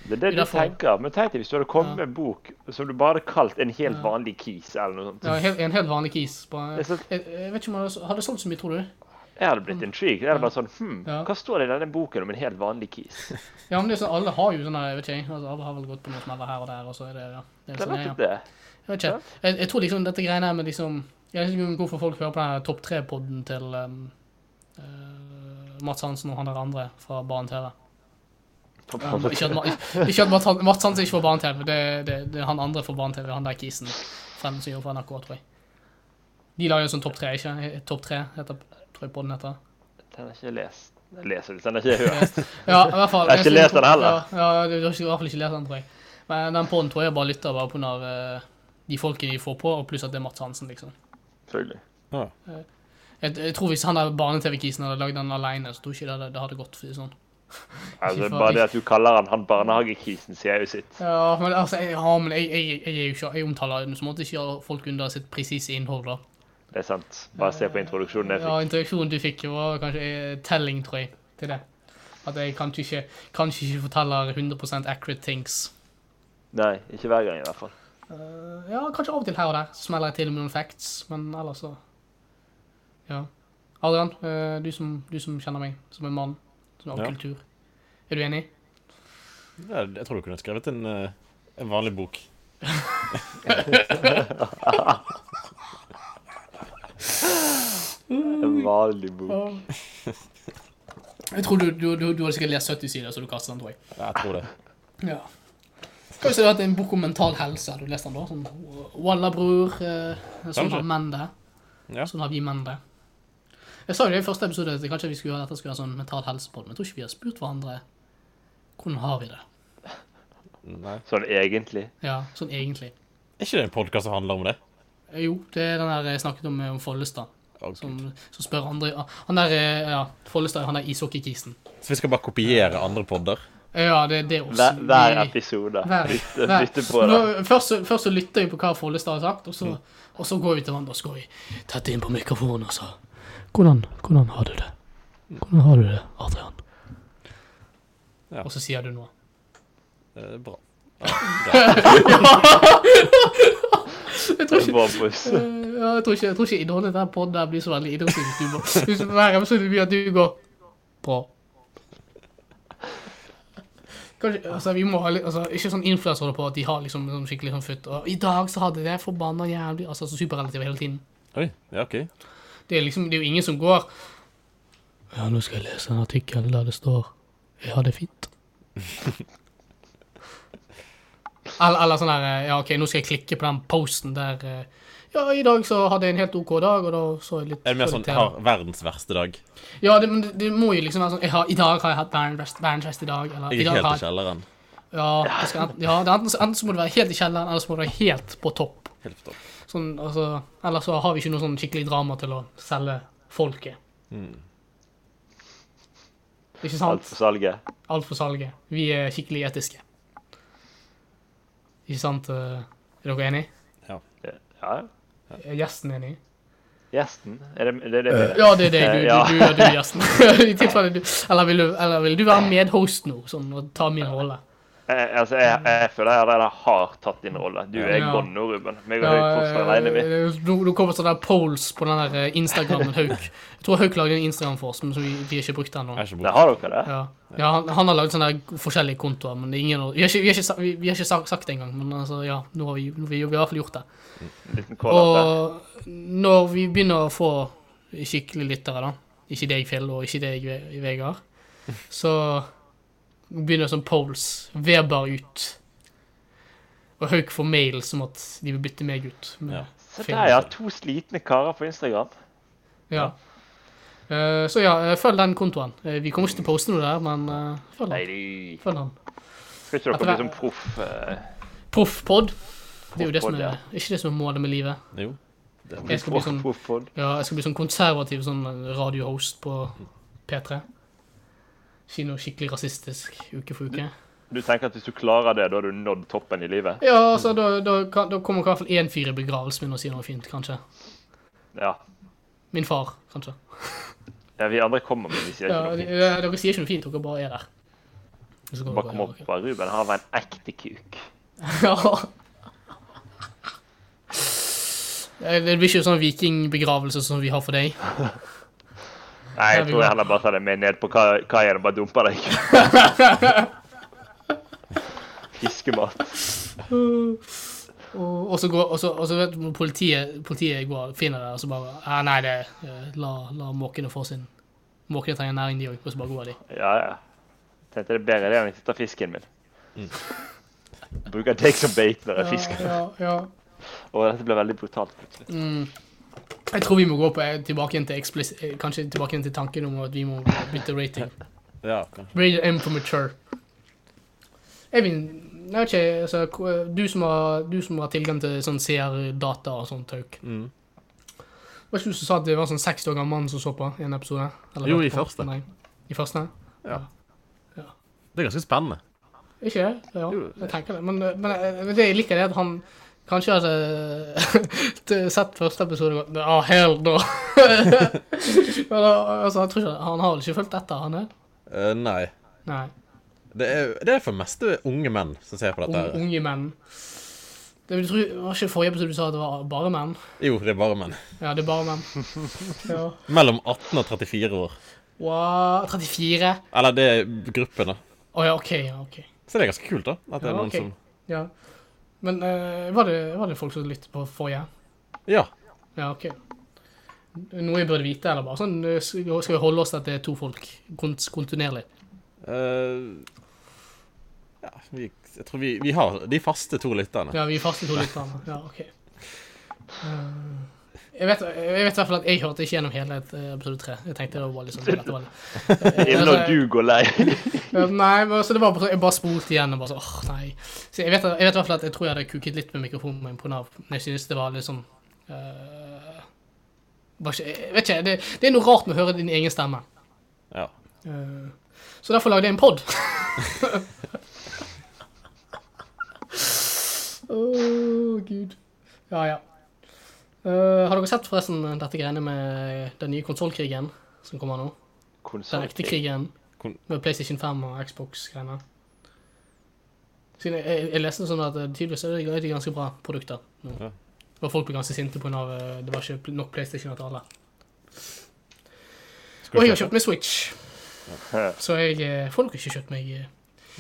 [SPEAKER 3] Det er det du
[SPEAKER 1] Derfor-
[SPEAKER 3] tenker. Men tenk deg hvis du hadde kommet med en bok som du bare hadde kalt en helt
[SPEAKER 1] Ja.
[SPEAKER 3] vanlig kis eller noe sånt.
[SPEAKER 1] Ja, en helt- en helt vanlig kis. Bare,
[SPEAKER 3] Det er så-
[SPEAKER 1] jeg, jeg vet ikke om han har- har det solgt så mye, tror du?
[SPEAKER 3] Jeg hadde blitt intrigued. Jeg hadde bare sånn Hm,
[SPEAKER 1] Ja.
[SPEAKER 3] hva står det i denne boken om en helt vanlig kis?
[SPEAKER 1] Ja, men det er sånn, alle har jo sånne, jeg vet ikke, jeg, altså, alle har vel gått på noen smeller her og der, og så er det, ja. Det
[SPEAKER 3] Det
[SPEAKER 1] er
[SPEAKER 3] er
[SPEAKER 1] sånn, ja, ja.
[SPEAKER 3] nettopp det.
[SPEAKER 1] Jeg vet ikke. Jeg, jeg tror liksom dette greiene her med liksom Jeg vet ikke om hvorfor folk hører på den her Topp 3-podden til um, eh, Mats Hansen og han der andre fra Barn TV. Um, ikke, at, Ma- ikke at Mats, Han- Mats Hansen ikke får Barn TV, det, det, det er han andre fra Barn TV, han der kisen. Fremden som jobber for NRK, tror jeg. De lager jo sånn Topp 3, ikke? Topp 3 heter tror jeg podden heter.
[SPEAKER 3] Den har jeg ikke lest. Jeg leser litt, den har jeg ikke hørt.
[SPEAKER 1] Ja, i hvert fall.
[SPEAKER 3] Jeg har ikke lest den heller.
[SPEAKER 1] Ja, ja, du har ikke, i hvert fall ikke lest den, tror jeg. Men den podden tror jeg bare lytter bare på når eh, de folkene de får på, og pluss at det er Mats Hansen, liksom.
[SPEAKER 3] Selvfølgelig.
[SPEAKER 2] Ja.
[SPEAKER 1] Jeg, jeg tror hvis han der barne-TV-kisen hadde lagd den alene, så tror jeg ikke det hadde, det hadde gått for å si det sånn.
[SPEAKER 3] Altså,
[SPEAKER 1] faen.
[SPEAKER 3] bare det at du kaller han han barnehagekisen, sier jo sitt.
[SPEAKER 1] Ja, men altså, jeg, ja, men jeg, jeg, jeg, er jo ikke, jeg omtaler jo som måte ikke folk under sitt presise innhold, da.
[SPEAKER 3] Det er sant. Bare se på introduksjonen jeg
[SPEAKER 1] Ja,
[SPEAKER 3] fikk.
[SPEAKER 1] interaksjonen du fikk, var kanskje eh, telling, tror jeg, til det. At jeg kanskje ikke, kanskje ikke forteller 100 accurate things.
[SPEAKER 3] Nei, ikke hver gang i hvert fall.
[SPEAKER 1] Eh, ja, kanskje av og til her og der så smeller jeg til med noen facts, men ellers så Ja. Adrian, eh, du, som, du som kjenner meg som en mann som er av
[SPEAKER 2] Ja.
[SPEAKER 1] kultur, er du enig?
[SPEAKER 2] Ja, Jeg tror du kunne skrevet en, eh, en vanlig bok.
[SPEAKER 3] En vanlig bok.
[SPEAKER 1] Jeg tror du, du, du, du hadde sikkert lest 70 sider, så du kastet den, tror jeg.
[SPEAKER 2] Ja, jeg tror det.
[SPEAKER 1] Ja. Hva hvis du hadde hatt en bok om mental helse? Hadde du lest den da? Sånn, Walla, bror. Eh, sånn
[SPEAKER 2] Kanskje.
[SPEAKER 1] har menn det.
[SPEAKER 2] Ja.
[SPEAKER 1] Sånn har vi menn det. Jeg sa jo det i første episode at kanskje vi skulle ha, dette skulle ha sånn mental helse på det, men jeg tror ikke vi har spurt hverandre hvordan har vi det.
[SPEAKER 2] Nei.
[SPEAKER 3] Sånn egentlig.
[SPEAKER 1] Ja, sånn egentlig.
[SPEAKER 2] Er ikke det en podkast som handler om det?
[SPEAKER 1] Eh, Jo, det er den der jeg snakket om, eh, om Follestad.
[SPEAKER 2] Å,
[SPEAKER 1] Som,
[SPEAKER 2] Gud.
[SPEAKER 1] som spør andre Han der eh, ja, Follestad, han der ishockeykisen. Eh,
[SPEAKER 2] Så vi skal bare kopiere andre podder?
[SPEAKER 1] Ja, det, det er oss.
[SPEAKER 3] Hver, hver
[SPEAKER 1] Vi-
[SPEAKER 3] episode.
[SPEAKER 1] Hver-
[SPEAKER 3] Bytte,
[SPEAKER 1] hver-
[SPEAKER 3] bytte på det. Mm.
[SPEAKER 1] Nå, Først, så- først så lytter vi på hva Follestad har sagt, og så, og så går vi til hverandre og så går vi tett inn på mikrofonen og så hvordan, hvordan har du det? Hvordan har du det, Adrian?
[SPEAKER 2] Ja.
[SPEAKER 1] Og så sier du noe.
[SPEAKER 2] Eh, bra.
[SPEAKER 1] Jeg tror ikke,
[SPEAKER 3] Bombus.
[SPEAKER 1] eh, ja, jeg tror ikke, jeg tror ikke innholdet i denne podden her blir så veldig idrettslig hvis du bare- hvis hver episode blir at du går bra. Kanskje, altså, vi må ha litt, altså, ikke sånn influensere på at de har liksom, sånn skikkelig sånn futt. Og, I dag så hadde det forbanna jævlig Altså så superrelative hele tiden.
[SPEAKER 2] Oi. Ja, OK.
[SPEAKER 1] Det er liksom, det er jo ingen som går Ja, nå skal jeg lese en artikkel der det står Jeg har det fint. eller, eller sånn her eh, Ja, OK, nå skal jeg klikke på den posten der eh, Ja, i dag så hadde jeg en helt OK dag, og da så jeg litt
[SPEAKER 2] Er det mer
[SPEAKER 1] så
[SPEAKER 2] sånn
[SPEAKER 1] litt TV.
[SPEAKER 2] har verdens verste dag?
[SPEAKER 1] Ja, det, men det, det må jo liksom være sånn jeg har, I dag har jeg hatt verdens best- verdens beste dag, eller
[SPEAKER 2] Jeg
[SPEAKER 1] i
[SPEAKER 2] er
[SPEAKER 1] dag
[SPEAKER 2] helt i
[SPEAKER 1] har jeg
[SPEAKER 2] kjelleren.
[SPEAKER 1] Ja, det skal, enten- ja det er enten, så- enten så må du være helt i kjelleren, eller så må du være helt på topp.
[SPEAKER 2] Helt på topp.
[SPEAKER 1] Sånn, altså, ellers så har vi ikke noe sånn skikkelig drama til å selge folket.
[SPEAKER 3] Mm.
[SPEAKER 1] Ikke
[SPEAKER 3] Alt
[SPEAKER 1] sant?
[SPEAKER 3] for salget.
[SPEAKER 1] Alt for salget. Vi er skikkelig etiske. Ikke sant? eh, Er dere enig?
[SPEAKER 3] Ja.
[SPEAKER 1] Er gjesten enig?
[SPEAKER 3] Gjesten? Er det det? Er det, det?
[SPEAKER 1] Ja, det er deg. Du,
[SPEAKER 3] Ja.
[SPEAKER 1] du, du, er- du er gjesten. I tilfelle du Eller vil du, eller vil du være medhost nå, sånn, og ta min rolle?
[SPEAKER 3] Jeg, altså, jeg, jeg føler jeg allerede har tatt din rolle. Du er
[SPEAKER 1] Ja.
[SPEAKER 3] gone nå, Ruben. Meg og
[SPEAKER 1] Ja,
[SPEAKER 3] Haug fortsatt alene, vi.
[SPEAKER 1] eh, nå nå kommer sånne der polls på den der eh, Instagrammen Hauk. Jeg tror Hauk lagde en Instagram for oss, men som vi, vi har ikke brukt den ennå.
[SPEAKER 2] Jeg er ikke
[SPEAKER 3] Der
[SPEAKER 2] borte.
[SPEAKER 3] har dere det.
[SPEAKER 1] Ja. Ja, han, han har lagd sånne der forskjellige kontoer, men det er ingen, vi har ikke, vi har ikke, sa- vi, vi har ikke sagt, sagt det engang. Men altså, ja, nå har vi, nå har vi, vi har i hvert fall gjort det.
[SPEAKER 3] Liten call-up der.
[SPEAKER 1] Og når vi begynner å få skikkelig lyttere, da Ikke deg, Phil, og ikke deg, Ve- Vegard, så begynner sånn polls. Weber ut. Og Hauk får mail som at de vil bytte meg ut. med
[SPEAKER 2] Ja.
[SPEAKER 3] Se
[SPEAKER 1] Phil.
[SPEAKER 3] der, ja. To slitne karer på Instagram.
[SPEAKER 1] Ja. Eh, så ja, eh, følg den kontoen. Eh, vi kommer ikke til å poste noe der, men eh, følg
[SPEAKER 3] Nei,
[SPEAKER 1] den.
[SPEAKER 3] de-
[SPEAKER 1] Følg den.
[SPEAKER 3] skal ikke
[SPEAKER 1] Etter
[SPEAKER 3] dere bli
[SPEAKER 1] hver-
[SPEAKER 3] sånn proff? eh,
[SPEAKER 1] Proffpod. Det er jo det som
[SPEAKER 3] Proffpod,
[SPEAKER 1] er, ikke det som er målet med livet.
[SPEAKER 2] Jo.
[SPEAKER 1] Jeg skal bli sånn,
[SPEAKER 3] proffpod?
[SPEAKER 1] ja, jeg skal bli sånn konservativ sånn radiohost på P3. Ikke noe skikkelig rasistisk uke for uke.
[SPEAKER 3] Du tenker at hvis du klarer det, da har du nådd toppen i livet?
[SPEAKER 1] Ja, altså, da, da, kan- da kommer i hvert fall én fyr i begravelsen min og sier noe fint, kanskje.
[SPEAKER 3] Ja.
[SPEAKER 1] Min far, kanskje.
[SPEAKER 3] ja vi andre kommer, men vi sier ikke
[SPEAKER 1] Ja,
[SPEAKER 3] noe.
[SPEAKER 1] de-
[SPEAKER 3] fint.
[SPEAKER 1] de- dere sier ikke noe fint, dere bare er der. Og så går
[SPEAKER 3] Bare
[SPEAKER 1] dere,
[SPEAKER 3] kom opp. bare, Ruben har en ekte kuk.
[SPEAKER 1] Ja. ok. Ja. Det blir ikke sånn vikingbegravelse som vi har for deg.
[SPEAKER 3] Nei,
[SPEAKER 1] Ja,
[SPEAKER 3] jeg
[SPEAKER 1] vi
[SPEAKER 3] tror
[SPEAKER 1] går.
[SPEAKER 3] jeg heller bare tar deg med ned på ka- kaien og bare dumper deg. Fiskemat.
[SPEAKER 1] Og, og så går, og så, og så vet du, politiet, politiet går og finner det, og så bare ah, Nei, det eh, La, la måkene få sin Måkene trenger næring, de òg. Og så bare går de.
[SPEAKER 3] Ja, ja. Tenkte det er bedre det enn å sitte fisken min. Bruker take som bait når jeg fisker. Og dette ble veldig brutalt. plutselig.
[SPEAKER 1] Jeg tror vi må gå på, eh, tilbake igjen til explis- eh, Kanskje tilbake igjen til tanken om at vi må bytte rating.
[SPEAKER 2] Ja, kanskje.
[SPEAKER 1] Rated M for mature. Eivind, jeg vet ikke, altså, hvor- du som har, du som har tilgang til sånn seerdata og sånt tauk.
[SPEAKER 2] Mm.
[SPEAKER 1] Var ikke du som sa at det var en sånn 60 år gammel mann som så på en episode? Eller
[SPEAKER 2] Jo,
[SPEAKER 1] hørte
[SPEAKER 2] i
[SPEAKER 1] på?
[SPEAKER 2] første.
[SPEAKER 1] Nei. I første?
[SPEAKER 2] Det er ganske spennende.
[SPEAKER 1] Ikke det? Ja,
[SPEAKER 2] Jo.
[SPEAKER 1] jeg tenker det. Men, men eh, det jeg liker, det er at han kanskje hadde sett første episode og gått Ja, hell no! Men, altså, jeg tror ikke, han har vel ikke fulgt etter, han er?
[SPEAKER 2] Eh, nei.
[SPEAKER 1] Nei.
[SPEAKER 2] Det er, det er for meste unge menn som ser på dette.
[SPEAKER 1] Unge,
[SPEAKER 2] her.
[SPEAKER 1] unge menn. Det vil jeg tro- var ikke forrige episode du sa at det var bare menn?
[SPEAKER 2] Jo, det er bare menn.
[SPEAKER 1] Ja, det er bare menn. Ja.
[SPEAKER 2] Mellom 18 og 34 år.
[SPEAKER 1] Wow, 34?
[SPEAKER 2] Eller det er gruppen, da.
[SPEAKER 1] Å ja, OK. ja, ok.
[SPEAKER 2] Så det er ganske kult, da. At det er
[SPEAKER 1] Ja,
[SPEAKER 2] noen
[SPEAKER 1] ok. Ja. Men eh, var, det, var det folk som lyttet på forrige?
[SPEAKER 2] som Ja.
[SPEAKER 1] Ja, ok. Noe jeg burde vite, eller bare sånn eh, Skal skal vi holde oss til at det er to folk kont kontinuerlig?
[SPEAKER 2] eh, ja vi, jeg tror vi, vi har de faste to lytterne.
[SPEAKER 1] Ja, vi er faste to lytterne. Ja, ok. Eh, jeg vet, jeg vet i hvert fall at jeg hørte ikke gjennom hele eh, episode tre. Jeg tenkte det var liksom dette var Eh, litt-
[SPEAKER 3] Innen når
[SPEAKER 1] altså
[SPEAKER 3] du går lei.
[SPEAKER 1] Ja, Nei, men så det var bare sånn Jeg bare spolte igjen og bare sånn åh, nei. Så jeg vet, jeg vet i hvert fall at jeg tror jeg hadde kuket litt med mikrofonen min pga. Men jeg synes det var litt sånn eh, bare ikke, Jeg vet ikke. Det, det er noe rart med å høre din egen stemme.
[SPEAKER 2] Ja.
[SPEAKER 1] Eh, Så derfor lagde jeg en pod. Å, gud. Ja, ja. Eh, har dere sett forresten dette greiene med den nye konsollkrigen som kommer nå? Den ekte
[SPEAKER 3] Konsolkrig.
[SPEAKER 1] krigen
[SPEAKER 2] Kon-
[SPEAKER 1] med PlayStation 5 og Xbox-greiene. Siden jeg, jeg, jeg leste sånn at eh, tydeligvis er det er det ganske bra produkter nå.
[SPEAKER 2] Ja.
[SPEAKER 1] Og folk blir ganske sinte pga. det var ikke nok PlayStation til alle.
[SPEAKER 2] Skal
[SPEAKER 1] Og
[SPEAKER 2] vi
[SPEAKER 1] jeg har
[SPEAKER 2] se på?
[SPEAKER 1] kjøpt meg Switch.
[SPEAKER 3] Ja.
[SPEAKER 1] Så jeg eh, får nok ikke kjøpt meg eh.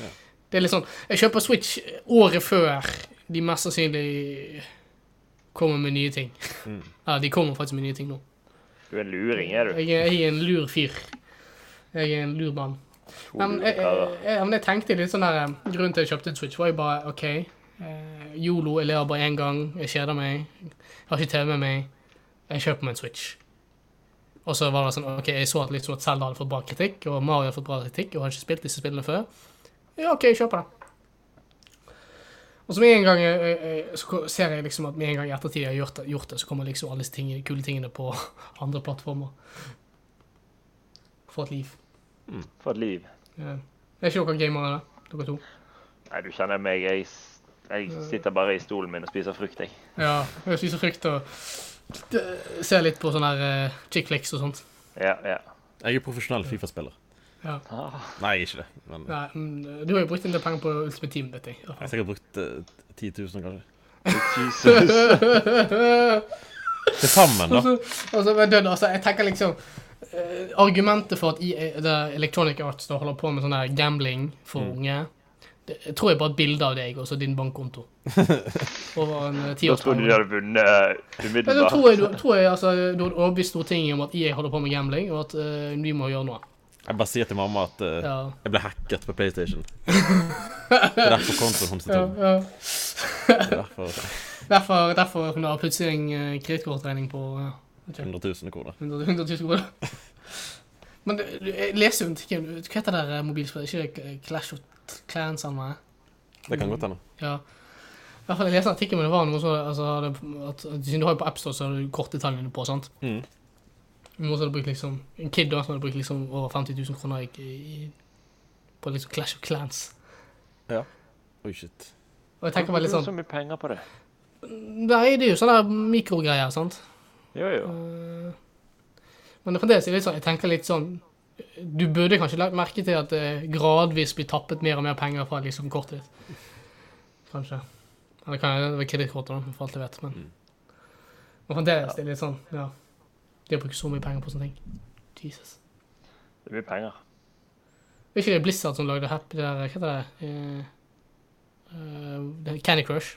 [SPEAKER 2] Ja.
[SPEAKER 1] Det er litt sånn Jeg kjøper Switch året før de mest sannsynlig kommer med nye ting.
[SPEAKER 2] Mm.
[SPEAKER 1] Ja, de kommer faktisk med nye ting nå.
[SPEAKER 3] Du er en luring, er du?
[SPEAKER 1] Jeg, er- jeg er en lur fyr. Jeg er en lur mann.
[SPEAKER 3] To
[SPEAKER 1] Men eh, jeg, jeg,
[SPEAKER 3] lurer.
[SPEAKER 1] jeg, men jeg tenkte litt sånn der eh, Grunnen til at jeg kjøpte en Switch, var jo bare OK. eh, Yolo, jeg lever bare én gang. Jeg kjeder meg. Jeg har ikke TV med meg. Jeg kjøper meg en Switch. Og så var det sånn OK, jeg så at liksom at Zelda hadde fått bra kritikk, og Mario hadde fått bra kritikk, og hadde ikke spilt disse spillene før. Ja, OK, jeg kjøper det. Og så med en gang jeg, jeg, jeg, så ko- ser jeg liksom at med en gang i ettertid jeg har gjort det, gjort det så kommer liksom alle disse tingene, kule tingene på andre plattformer. For et liv.
[SPEAKER 3] For et liv.
[SPEAKER 1] Ja. Det er ikke dere gamere, da? Dere to?
[SPEAKER 3] Nei, du kjenner meg. Jeg, s- jeg sitter bare i stolen min og spiser frukt, jeg.
[SPEAKER 1] Ja. Jeg spiser frukt og d- ser litt på sånne her eh, chick flicks og sånt.
[SPEAKER 3] Ja, ja.
[SPEAKER 2] Jeg er profesjonell Fifa-spiller.
[SPEAKER 1] Ja.
[SPEAKER 3] Ah,
[SPEAKER 2] Nei, ikke det. Men jeg
[SPEAKER 1] Nei, men eh, du har jo brukt en del penger på Ultimate Team, vet jeg. i hvert
[SPEAKER 2] har
[SPEAKER 1] fall.
[SPEAKER 2] sikkert brukt eh, 10 000, kanskje.
[SPEAKER 3] Jesus.
[SPEAKER 2] Til sammen, da.
[SPEAKER 1] Altså, altså, men det da, altså, jeg tenker liksom eh, Argumentet for at EA, det Electronic Arts da holder på med sånn her gambling for
[SPEAKER 3] Mm.
[SPEAKER 1] unge det, Jeg tror jeg bare et bilde av deg og så din bankkonto. Over en eh,
[SPEAKER 3] Da trodde du
[SPEAKER 1] tiårsperiode.
[SPEAKER 3] de hadde vunnet eh,
[SPEAKER 1] Men da tror
[SPEAKER 3] umiddelbart.
[SPEAKER 1] jeg, du, tror jeg altså, du hadde overbevist Stortinget om at EA holder på med gambling, og at eh, vi må gjøre noe.
[SPEAKER 2] Jeg bare sier til mamma at eh,
[SPEAKER 1] Ja.
[SPEAKER 2] jeg ble hacket på PlayStation. Det er derfor kontoen hennes er
[SPEAKER 1] Ja,
[SPEAKER 2] tom.
[SPEAKER 1] ja.
[SPEAKER 2] Det er derfor-
[SPEAKER 1] Derfor, derfor hun har plutselig en eh, kredittkortregning på eh, Ok.
[SPEAKER 2] 100 000 kroner.
[SPEAKER 1] 100 100 000 kroner. Men du, du, jeg leser jo en artikkel Hva heter det der mobilspillet? Er Ikke det Clash of Clans eller noe?
[SPEAKER 2] Det kan godt hende.
[SPEAKER 1] Ja. I hvert fall jeg leste en artikkel, men det var noe så, altså, det, at, at siden du har jo på AppStore, så har du kortdetaljene på, sant?
[SPEAKER 2] Mhm.
[SPEAKER 1] Noen som hadde brukt liksom, en kid da, som hadde brukt liksom over 50 000 kroner i, i, på liksom Clash of Clans.
[SPEAKER 2] Oi, shit.
[SPEAKER 1] Og jeg tenker bare litt
[SPEAKER 3] Hvorfor
[SPEAKER 1] sånn,
[SPEAKER 3] Så mye penger på det.
[SPEAKER 1] nei, det er jo sånne der mikrogreier, sant?
[SPEAKER 3] Jo, jo.
[SPEAKER 1] Eh, Men fremdeles er det litt sånn, jeg tenker litt sånn Du burde kanskje lagt merke til at det gradvis blir tappet mer og mer penger fra liksom kortet ditt. Kanskje. Eller kan det være kredittkortet, da, for alt jeg vet. Men,
[SPEAKER 2] Mm.
[SPEAKER 1] men fremdeles det er litt sånn, ja Det å bruke så mye penger på sånne ting. Jesus.
[SPEAKER 3] Det er mye penger.
[SPEAKER 1] Er ikke det Blizzard som lagde Happy det der, Hva heter det? Eh, eh, det er Candy Crush.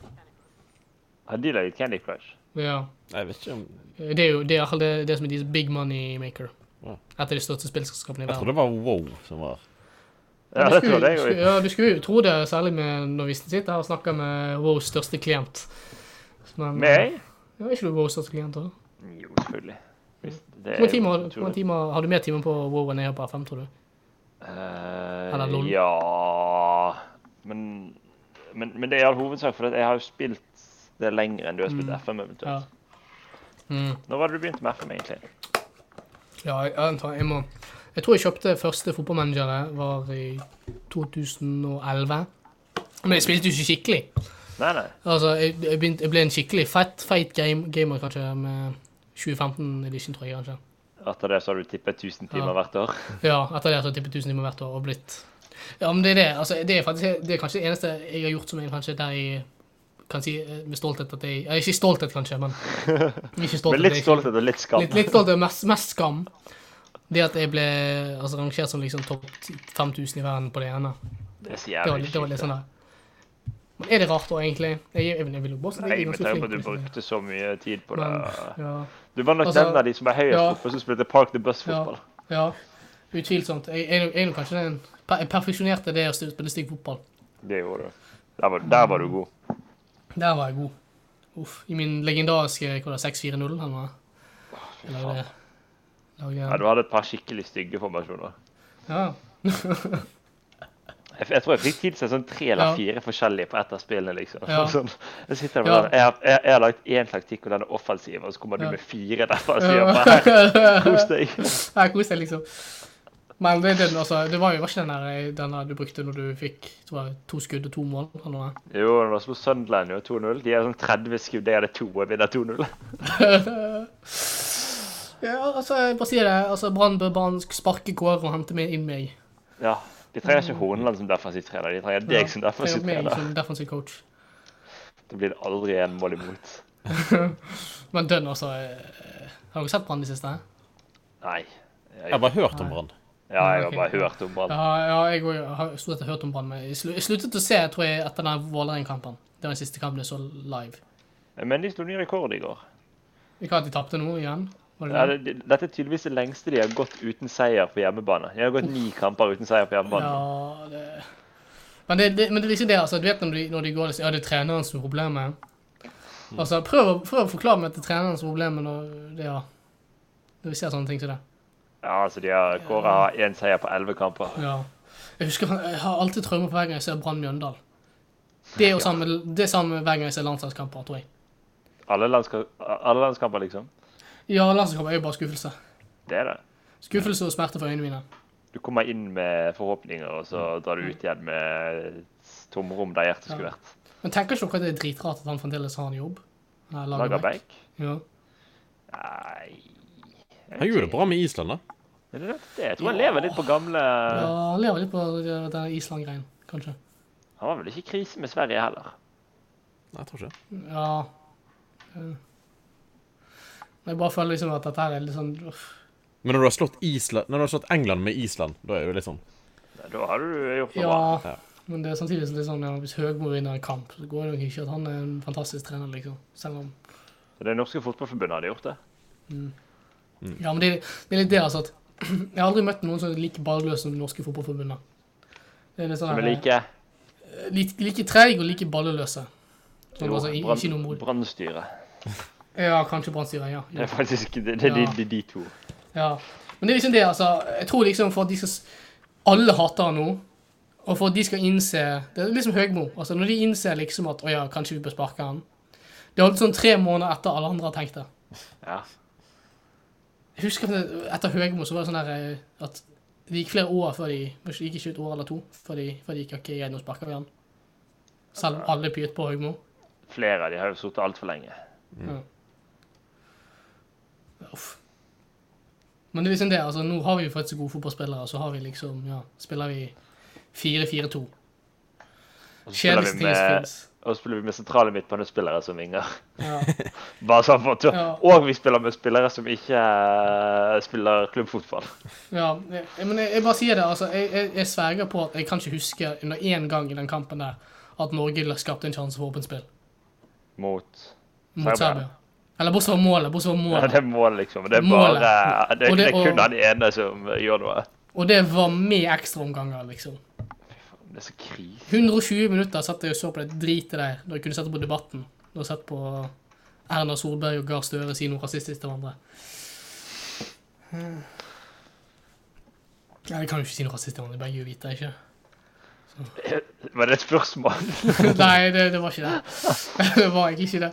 [SPEAKER 3] Har de laget Candy Crush?
[SPEAKER 1] Ja.
[SPEAKER 2] Jeg vet ikke om
[SPEAKER 1] Det er jo det, er i hvert fall det, det som er deres big money maker.
[SPEAKER 2] Ja.
[SPEAKER 1] Et av de største spillselskapene i
[SPEAKER 2] Jeg
[SPEAKER 1] verden.
[SPEAKER 2] trodde det var Wow som var
[SPEAKER 3] Ja,
[SPEAKER 1] du
[SPEAKER 3] det
[SPEAKER 1] skulle-
[SPEAKER 3] trodde jeg
[SPEAKER 1] skulle-
[SPEAKER 3] jo.
[SPEAKER 1] Ja, du skulle jo tro det, særlig med når vi sitter her og snakker med Wows største klient. Men,
[SPEAKER 3] Meg?
[SPEAKER 1] Ja, er ikke du Wows største klient òg?
[SPEAKER 3] Jo, selvfølgelig.
[SPEAKER 1] Mm.
[SPEAKER 3] Hvis det
[SPEAKER 1] Hvor mange
[SPEAKER 3] jo
[SPEAKER 1] timer, har- hvor mange
[SPEAKER 3] naturlig.
[SPEAKER 1] timer, har du mer timer på Wow enn jeg har på FM, tror du?
[SPEAKER 3] Eh,
[SPEAKER 1] Eller LOL.
[SPEAKER 3] ja men, men, men det er i all hovedsak fordi at jeg har jo spilt det lenger enn du har spilt FM.
[SPEAKER 1] Ja.
[SPEAKER 3] eventuelt.
[SPEAKER 1] Mm.
[SPEAKER 3] Når var det du begynte med FM, egentlig?
[SPEAKER 1] Ja, jeg, jeg, antar- jeg må Jeg tror jeg kjøpte første fotballmanager var i 2011. Men jeg spilte jo ikke skikkelig.
[SPEAKER 3] Nei, nei.
[SPEAKER 1] Altså, jeg, jeg, begynte, jeg ble en skikkelig fett, feit game, gamer, kanskje, med 2015-edition, tror jeg kanskje.
[SPEAKER 3] Etter det så har du tippet 1000 timer
[SPEAKER 1] Ja.
[SPEAKER 3] hvert år.
[SPEAKER 1] Ja, etter det så har jeg tippet 1000 timer hvert år og blitt Ja, men det er det. Altså, det er faktisk det er kanskje det eneste jeg har gjort som jeg kanskje der jeg kan si eh, med stolthet at jeg ja, Ikke stolthet, kanskje, men ikke stolthet,
[SPEAKER 3] Men litt
[SPEAKER 1] det er ikke-
[SPEAKER 3] stolthet og litt skam.
[SPEAKER 1] Litt, litt stolthet, mest, mest skam. Det at jeg ble altså, rangert som liksom topp 5000 i verden på det ene.
[SPEAKER 3] Det er så
[SPEAKER 1] Det var,
[SPEAKER 3] jævlig altså.
[SPEAKER 1] litt- det var litt
[SPEAKER 3] kjipt.
[SPEAKER 1] sånn der. Men er det rart da, egentlig? Jeg, jeg, jeg vil jo bare si at
[SPEAKER 3] Nei,
[SPEAKER 1] jeg er
[SPEAKER 3] men
[SPEAKER 1] ganske
[SPEAKER 3] tenk på at du
[SPEAKER 1] flink. liksom.
[SPEAKER 3] brukte så mye tid på det.
[SPEAKER 1] Men, ja.
[SPEAKER 3] Du var nok
[SPEAKER 1] Altså,
[SPEAKER 3] den av de som var høyest
[SPEAKER 1] ja.
[SPEAKER 3] oppe, som spilte Park the Bus-fotball.
[SPEAKER 1] Ja, utvilsomt. Jeg, jeg, jeg, er nok kanskje den Jeg perfeksjonerte det å spille stygg fotball.
[SPEAKER 3] Det gjorde du. Der var, der var du god.
[SPEAKER 1] Der var jeg god. Uff, I min legendariske hva var det, 6-4-0 eller noe. Jeg lagde det.
[SPEAKER 3] Ja,
[SPEAKER 1] Lagde,
[SPEAKER 3] du hadde et par skikkelig stygge formasjoner.
[SPEAKER 1] ja.
[SPEAKER 3] Jeg, jeg tror jeg fikk tid til sånn tre eller
[SPEAKER 1] Ja.
[SPEAKER 3] fire forskjellige på ett av spillene. liksom.
[SPEAKER 1] Ja.
[SPEAKER 3] Sånn, jeg sitter der
[SPEAKER 1] Ja.
[SPEAKER 3] med den. jeg, har- jeg, jeg har lagt én taktikk, og den er offensiv, og så kommer du
[SPEAKER 1] Ja.
[SPEAKER 3] med fire defensive. og bare, Kos
[SPEAKER 1] Jeg
[SPEAKER 3] deg.
[SPEAKER 1] koste meg, liksom. Men det, det, altså, det var jo var ikke den der, eh, den der du brukte når du fikk tror jeg, to skudd og to mål. eller noe.
[SPEAKER 3] Jo, det var slo Sunderland jo 2-0. De har sånn 30 skudd, jeg hadde to og vinner 2-0.
[SPEAKER 1] Ja, altså, jeg bare sier det. altså, Brann bør bare sparke Kåre og hente meg inn meg.
[SPEAKER 3] Ja, De trenger ikke Horneland som defensiv trener, de trenger deg som
[SPEAKER 1] Jeg
[SPEAKER 3] defensiv
[SPEAKER 1] er meg
[SPEAKER 3] trener.
[SPEAKER 1] som defensiv coach.
[SPEAKER 3] Da blir det aldri en mål imot.
[SPEAKER 1] Men dønn, altså. eh, Har dere sett Brann i det siste?
[SPEAKER 3] Nei.
[SPEAKER 2] Jeg har bare hørt om Brann.
[SPEAKER 3] Ja, jeg
[SPEAKER 1] Ja,
[SPEAKER 3] har
[SPEAKER 1] ok.
[SPEAKER 3] bare hørt om Brann.
[SPEAKER 1] Ja, ja jeg òg har stort sett hørt om Brann, men jeg slu- jeg sluttet å se tror jeg, etter den Vålerenga-kampen. Det var den siste kampen jeg så live.
[SPEAKER 3] Men de slo ny rekord i går.
[SPEAKER 1] Ikke at de tapte nå igjen? Var det
[SPEAKER 3] Ja,
[SPEAKER 1] det?
[SPEAKER 3] det, det- dette er tydeligvis det lengste de har gått uten seier på hjemmebane. De har gått ni kamper uten seier på hjemmebane.
[SPEAKER 1] Ja, det men det, det, men det er liksom det, altså. Du vet når de, når de går liksom, Ja, det er treneren som er problemet. Altså, prøv, å- prøv å forklare meg at det er treneren som er problemet når det ja. Når vi ser sånne ting som det.
[SPEAKER 3] Ja, altså de har Kåre har én seier på elleve kamper.
[SPEAKER 1] Ja. Jeg husker, jeg har alltid traumer på hver gang jeg ser Brann Mjøndalen. Det er jo samme, det er samme hver gang jeg ser landslagskamper, tror jeg.
[SPEAKER 3] Alle, landska alle landskamper, liksom.
[SPEAKER 1] Ja, landslagskamper er jo bare skuffelse.
[SPEAKER 3] Det er det.
[SPEAKER 1] Skuffelse og smerte for øynene mine.
[SPEAKER 3] Du kommer inn med forhåpninger, og
[SPEAKER 1] Mm.
[SPEAKER 3] så drar du ut igjen med tomrom der hjertet skulle vært.
[SPEAKER 1] Men tenker ikke dere at det er dritrart at han fremdeles har en jobb? Nei, Lagerbäck.
[SPEAKER 3] Lagerbäck?
[SPEAKER 1] Ja.
[SPEAKER 3] Nei
[SPEAKER 2] Han
[SPEAKER 3] jeg vet
[SPEAKER 2] gjorde det
[SPEAKER 3] ikke.
[SPEAKER 2] bra med Island, da.
[SPEAKER 3] Men det er nettopp det. Jeg tror han lever litt på gamle
[SPEAKER 1] ja, han lever litt på det- den Island-greien, kanskje.
[SPEAKER 3] Han var vel ikke i krise med Sverige heller.
[SPEAKER 2] Nei, jeg tror ikke det.
[SPEAKER 1] Ja. Eh. Men jeg bare føler liksom at dette her er litt sånn uff.
[SPEAKER 2] Men når du har slått, Island, når du har slått England med Island, da er det jo litt sånn
[SPEAKER 3] Nei, Da har du gjort noe bra.
[SPEAKER 1] Ja.
[SPEAKER 2] Ja.
[SPEAKER 1] Men det er samtidig litt sånn, ja, hvis Høgmo vinner en kamp, så går det nok ikke at han er en fantastisk trener, liksom. Selv om
[SPEAKER 3] Så Det norske fotballforbundet hadde gjort det. Mm.
[SPEAKER 1] Ja, men det, det er litt det, altså. at Jeg har aldri møtt noen som er like balløs som det norske fotballforbundet. Det er litt sånn
[SPEAKER 3] Men
[SPEAKER 1] her,
[SPEAKER 3] like
[SPEAKER 1] eh, like, like treig og like balleløse. Sånn,
[SPEAKER 3] jo,
[SPEAKER 1] altså, i- ikke noe
[SPEAKER 3] Brann-
[SPEAKER 1] mod.
[SPEAKER 3] Brannstyret.
[SPEAKER 1] Ja, kanskje brannstyring, ja.
[SPEAKER 3] Det
[SPEAKER 1] ja.
[SPEAKER 3] er faktisk det, det, er de-
[SPEAKER 1] Ja.
[SPEAKER 3] de, de to.
[SPEAKER 1] Ja. Men det er liksom det, altså. Jeg tror liksom for at de skal s- Alle hater han nå. Og for at de skal innse Det er liksom Høgmo. Altså, når de innser liksom at å ja, kanskje vi bør sparke han. Det er alltid sånn tre måneder etter alle andre har tenkt det.
[SPEAKER 3] Ja.
[SPEAKER 1] Jeg husker at etter Høgmo så var det sånn der eh, at det gikk flere år før de Det gikk ikke et år eller to før de, før de gikk OK, ja, nå sparker vi han. Selv om alle pyet på Høgmo.
[SPEAKER 3] Flere av de har jo sittet altfor lenge.
[SPEAKER 1] Uff. Men det er liksom det, altså nå har vi jo faktisk gode fotballspillere, så har vi liksom, ja, spiller vi 4-4-2.
[SPEAKER 3] Og så spiller vi
[SPEAKER 1] Kjedeligste
[SPEAKER 3] med,
[SPEAKER 1] spills.
[SPEAKER 3] og så spiller vi med sentrale midtbanespillere som vinger.
[SPEAKER 1] Ja.
[SPEAKER 3] Bare sånn for,
[SPEAKER 1] Ja.
[SPEAKER 3] Og vi spiller med spillere som ikke eh, spiller klubbfotball.
[SPEAKER 1] ja, jeg- men jeg, jeg bare sier det, altså, jeg, jeg, jeg sverger på at jeg kan ikke huske under én gang i den kampen der at Norge skapte en sjanse for åpent spill
[SPEAKER 3] Mot Serbia.
[SPEAKER 1] mot Serbia. Eller bortsett fra målet, bortsett fra
[SPEAKER 3] Ja,
[SPEAKER 1] målet.
[SPEAKER 3] det er mål, liksom. Det er
[SPEAKER 1] Målet.
[SPEAKER 3] bare Det,
[SPEAKER 1] Og det-
[SPEAKER 3] det er kun
[SPEAKER 1] og-
[SPEAKER 3] han ene som gjør noe.
[SPEAKER 1] Og det var med ekstraomganger, liksom.
[SPEAKER 3] Det er så krise.
[SPEAKER 1] 120 minutter satt jeg og så på det dritet der, da jeg kunne sette på debatten. Da jeg sett på Erna Solberg og Gahr Støre si noe rasistisk til hverandre. Ja, de kan jo ikke si noe rasistisk til hverandre, begge er jo hvite, ikke?
[SPEAKER 3] Var det et spørsmål?
[SPEAKER 1] Nei, det, det var ikke det. det var egentlig ikke det.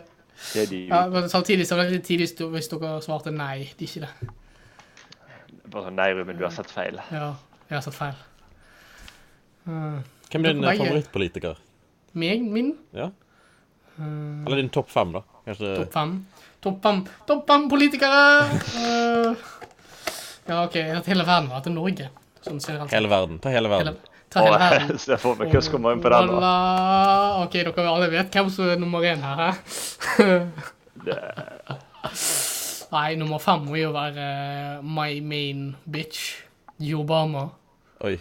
[SPEAKER 3] Det er de
[SPEAKER 1] Ja, men samtidig så var det litt tidlig sto- hvis dere svarte nei, det er ikke det.
[SPEAKER 3] bare sånn Nei, Ruben, du har sett feil.
[SPEAKER 1] Ja, jeg har satt feil. Eh,
[SPEAKER 2] Hvem er din eh,
[SPEAKER 1] Begge.
[SPEAKER 2] favorittpolitiker?
[SPEAKER 1] meg, min,
[SPEAKER 2] Ja? Eller din topp fem, da? Kanskje
[SPEAKER 1] Hmm.
[SPEAKER 3] Eh.
[SPEAKER 1] Topp fem. Topp fem, topp fem politikere! Eh, ja, OK. At hele verden var til Norge. Sånn generelt.
[SPEAKER 2] hele verden? Ta hele verden.
[SPEAKER 1] Hele, ta hele verden.
[SPEAKER 3] Se for meg hvordan kommer inn på den. da.
[SPEAKER 1] Voilà. OK, dere alle vet hvem som er nummer én her, hæ? Nei, nummer fem må jo være eh, my main bitch. I Obama.
[SPEAKER 2] Oi.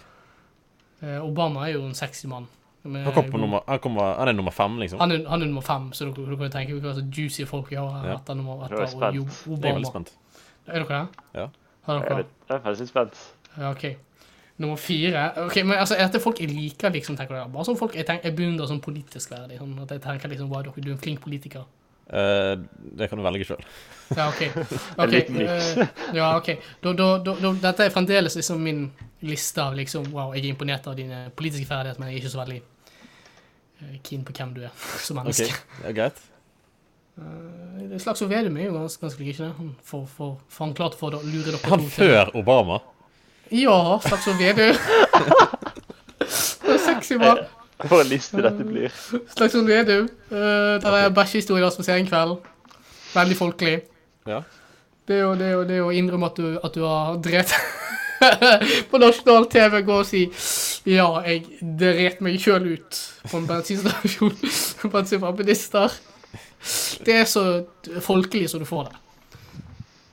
[SPEAKER 1] Eh, Obama er jo en sexy mann. Men-
[SPEAKER 2] Han, kom på nummer, han, kommer, han er nummer fem, liksom.
[SPEAKER 1] Eh, han, er, han er nummer fem, så dere, dere kan jo tenke hva slags juicy folk vi har her
[SPEAKER 2] Ja.
[SPEAKER 1] etter nummer
[SPEAKER 3] Nå er
[SPEAKER 1] etter
[SPEAKER 3] jeg spent.
[SPEAKER 1] Jo-
[SPEAKER 2] Jeg er
[SPEAKER 1] Obama.
[SPEAKER 2] veldig spent.
[SPEAKER 1] Er dere det?
[SPEAKER 2] Ja.
[SPEAKER 1] Har
[SPEAKER 3] Jeg er
[SPEAKER 1] dere?
[SPEAKER 3] litt- jeg er faktisk spent.
[SPEAKER 1] Ja, ok. Nummer fire. Ok, men altså, er dette folk jeg liker, liksom, tenker du? Bare sånn folk jeg, tenker, jeg beundrer sånn politisk verdig. Sånn at jeg tenker liksom, wow, dere- du er en flink politiker.
[SPEAKER 2] Eh, det kan du velge sjøl.
[SPEAKER 1] Ja, ok.
[SPEAKER 3] En
[SPEAKER 1] Ok,
[SPEAKER 3] liten miks.
[SPEAKER 1] eh, ja, ok. Da, da, da, da, dette er fremdeles liksom min liste av liksom, wow, jeg er imponert av dine politiske ferdigheter, men jeg er ikke så veldig eh, keen på hvem du er som
[SPEAKER 2] Ok,
[SPEAKER 1] menneske.
[SPEAKER 2] ja, Greit?
[SPEAKER 1] Okay. Slagsvold Vedum er jo ganske, ganske lik, ikke det? Han, får- får- for han klarte for å lure dere
[SPEAKER 2] Han
[SPEAKER 1] to til-
[SPEAKER 2] før Obama?
[SPEAKER 1] Ja, Slagsvold Vedum. Det er sexy, mann.
[SPEAKER 3] For en liste dette blir.
[SPEAKER 1] Slagsvold Vedum. Uh, der er bæsjehistorier som ser en kveld. Veldig folkelig.
[SPEAKER 2] Ja.
[SPEAKER 1] Det er jo det er jo, det er jo å innrømme at du, at du har drept På nasjonal TV gå og si Ja, jeg dret meg sjøl ut på en bensinstasjon blant syvapedister. Det er så folkelig som du får det.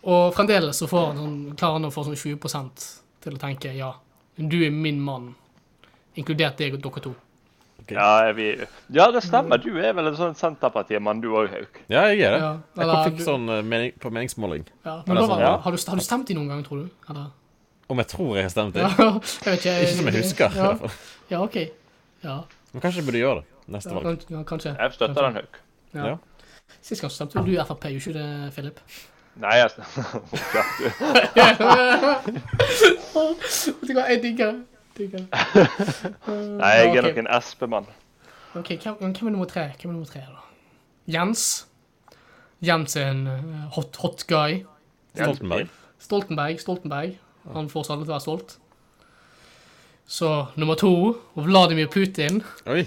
[SPEAKER 1] Og fremdeles så får han sånn, klarer han å få sånn 20 til å tenke ja, du er min mann, inkludert deg og dere to.
[SPEAKER 3] Ja, er vi... ja, det stemmer. Du er vel en sånn Senterpartimann, du òg, Hauk.
[SPEAKER 2] ja, jeg er det.
[SPEAKER 1] Ja,
[SPEAKER 2] jeg
[SPEAKER 1] eller
[SPEAKER 2] kom fikk
[SPEAKER 1] du-
[SPEAKER 2] sånn eh, mening, på meningsmåling.
[SPEAKER 1] Ja,
[SPEAKER 2] Er
[SPEAKER 1] men
[SPEAKER 2] det
[SPEAKER 1] da
[SPEAKER 2] sånn,
[SPEAKER 1] var,
[SPEAKER 2] ja?
[SPEAKER 1] har, du, har du stemt i noen gang, tror du? Eller?
[SPEAKER 2] Om jeg tror jeg har stemt
[SPEAKER 1] Ja,
[SPEAKER 2] inn.
[SPEAKER 1] jeg vet ikke.
[SPEAKER 2] Ikke som jeg husker. i
[SPEAKER 1] Ja,
[SPEAKER 2] hvert fall.
[SPEAKER 1] ja OK. Ja,
[SPEAKER 2] Men kanskje jeg burde gjøre det neste
[SPEAKER 1] ja,
[SPEAKER 2] valg.
[SPEAKER 1] kan- ja kanskje.
[SPEAKER 3] Jeg støtter den, Hauk.
[SPEAKER 1] Ja.
[SPEAKER 2] Ja.
[SPEAKER 1] Sist gang så stemte du Frp, gjorde ikke det, Philip?
[SPEAKER 3] Nei, jeg støtter
[SPEAKER 1] Vet du hva, jeg digger det. Digger det. Eh,
[SPEAKER 3] Nei, jeg
[SPEAKER 1] ja,
[SPEAKER 3] er
[SPEAKER 1] ok.
[SPEAKER 3] nok en SP-mann.
[SPEAKER 1] Ok, hvem, hvem er nummer tre? Hvem er nummer tre, da? Jens. Jens er en eh, hot, hot guy.
[SPEAKER 2] Stoltenberg.
[SPEAKER 1] Stoltenberg, Stoltenberg. Han får oss alle til å være stolt. Så nummer to, Vladimir Putin.
[SPEAKER 2] Oi.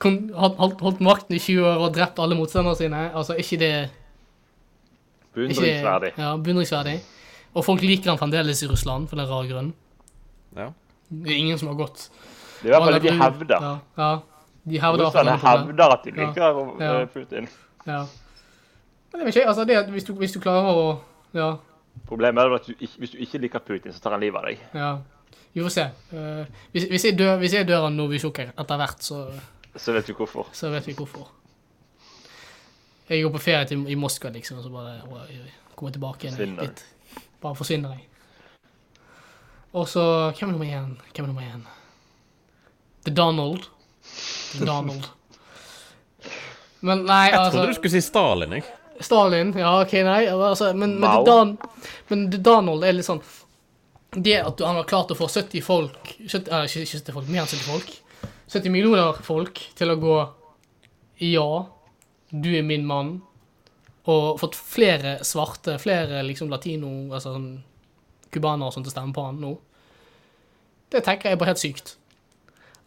[SPEAKER 1] Kon- Holdt, holdt, holdt makten i 20 år og drept alle motstanderne sine. Altså, ikke det ikke det-
[SPEAKER 3] Beundringsverdig.
[SPEAKER 1] Ja, beundringsverdig. Og folk liker han fremdeles i Russland, for den rare grunnen.
[SPEAKER 2] Ja.
[SPEAKER 1] Det er ingen som har gått.
[SPEAKER 3] Det er i hvert fall det de hevder.
[SPEAKER 1] Ja, ja. De hevder at han
[SPEAKER 3] Russerne
[SPEAKER 1] er populær.
[SPEAKER 3] hevder at de
[SPEAKER 1] Ja.
[SPEAKER 3] liker Ro-
[SPEAKER 1] Ja.
[SPEAKER 3] eh, Putin.
[SPEAKER 1] Ja. Men det vet ikke jeg. Altså, det at hvis du, hvis du klarer å Ja.
[SPEAKER 3] Problemet er vel at du, ikke- hvis du ikke liker Putin, så tar han livet av deg.
[SPEAKER 1] ja. Vi får se. Eh, hvis, hvis, jeg dør, hvis jeg dør av Novisjok etter hvert, så,
[SPEAKER 3] Så vet du hvorfor.
[SPEAKER 1] så vet vi hvorfor. Jeg går på ferie til, i Moskva, liksom, og så bare å, jeg- jeg kommer tilbake igjen
[SPEAKER 3] Forsvinner.
[SPEAKER 1] dit. Bare forsvinner jeg. Og så Hvem er nummer én? Hvem er nummer én? The Donald. The Donald. altså- Men nei,
[SPEAKER 2] Jeg
[SPEAKER 1] altså
[SPEAKER 2] trodde du skulle si Stalin, jeg.
[SPEAKER 1] Stalin, ja, OK, nei. Altså, men, men,
[SPEAKER 3] Mao.
[SPEAKER 1] det Dan, men det Donald er litt sånn Det at han har klart å få 70 folk 70, eh, ikke, ikke 70 folk, mer enn 70 folk 70 millioner folk til å gå Ja, du er min mann. Og fått flere svarte, flere liksom latino, altså sånn cubanere og sånt til å stemme på han nå. Det tenker jeg er bare helt sykt.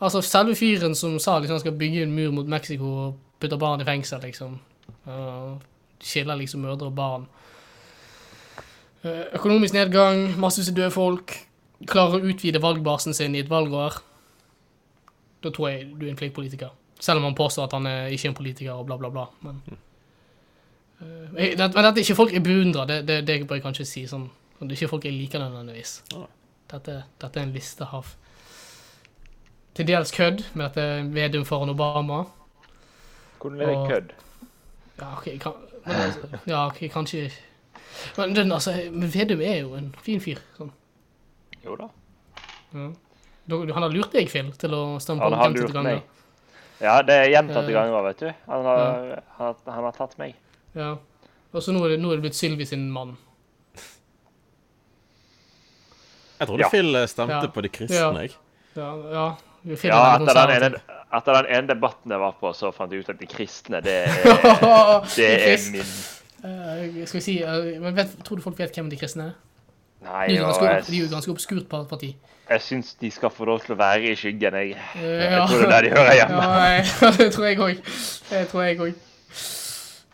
[SPEAKER 1] Altså, selve fyren som sa liksom han skal bygge en mur mot Mexico og putte barn i fengsel, liksom. Og skiller liksom mødre og barn. Eh, Økonomisk nedgang, massevis av døde folk. Klarer å utvide valgbasen sin i et valgår. Da tror jeg du er en flink politiker. Selv om han påstår at han er ikke er en politiker og bla, bla, bla. Men, Eh, jeg- det, men dette er ikke folk jeg beundrer. Det, det, det bør jeg kanskje si. sånn. Det er ikke folk jeg liker nødvendigvis.
[SPEAKER 2] Ah.
[SPEAKER 1] Dette, dette er en liste av til dels kødd med dette Vedum foran Obama.
[SPEAKER 3] Hvordan er det
[SPEAKER 1] Og-
[SPEAKER 3] kødd?
[SPEAKER 1] Ja, ok, kan, men altså, ja, ok, kanskje Men den, altså, men Vedum er jo en fin fyr. Sånn.
[SPEAKER 3] Jo da.
[SPEAKER 1] Du, du- han har lurt deg, Phil, til å stemme på
[SPEAKER 3] Han
[SPEAKER 1] ham
[SPEAKER 3] har
[SPEAKER 1] 50
[SPEAKER 3] lurt
[SPEAKER 1] ganger.
[SPEAKER 3] meg. Ja, det er gjentatte
[SPEAKER 1] Eh,
[SPEAKER 3] ganger, vet du. Han har, han, har- han har tatt meg.
[SPEAKER 1] Ja. Og så nå er det, nå er det blitt Sylvi sin mann.
[SPEAKER 2] Jeg trodde
[SPEAKER 3] Ja.
[SPEAKER 2] Phil eh, stemte
[SPEAKER 1] Ja.
[SPEAKER 2] på de
[SPEAKER 1] Ja.
[SPEAKER 2] kristne, jeg.
[SPEAKER 1] Ja, ja. vi finner
[SPEAKER 3] Ja,
[SPEAKER 1] en
[SPEAKER 3] etter den,
[SPEAKER 1] konservativ.
[SPEAKER 3] ene, etter den ene debatten jeg var på, så fant jeg ut at de kristne, det er, det er
[SPEAKER 1] Krist-
[SPEAKER 3] min
[SPEAKER 1] Eh, Skal vi si eh, men vet, Tror du folk vet hvem de kristne er?
[SPEAKER 3] Nei,
[SPEAKER 1] De er jo
[SPEAKER 3] og
[SPEAKER 1] ganske, opp- de er
[SPEAKER 3] jeg,
[SPEAKER 1] jo et ganske obskurt par- parti.
[SPEAKER 3] jeg syns de skal få lov til å være i skyggen, jeg.
[SPEAKER 1] Eh,
[SPEAKER 3] Jeg
[SPEAKER 1] ja.
[SPEAKER 3] tror det er der de hører hjemme.
[SPEAKER 1] Ja, jeg, det tror jeg òg. Det tror jeg òg.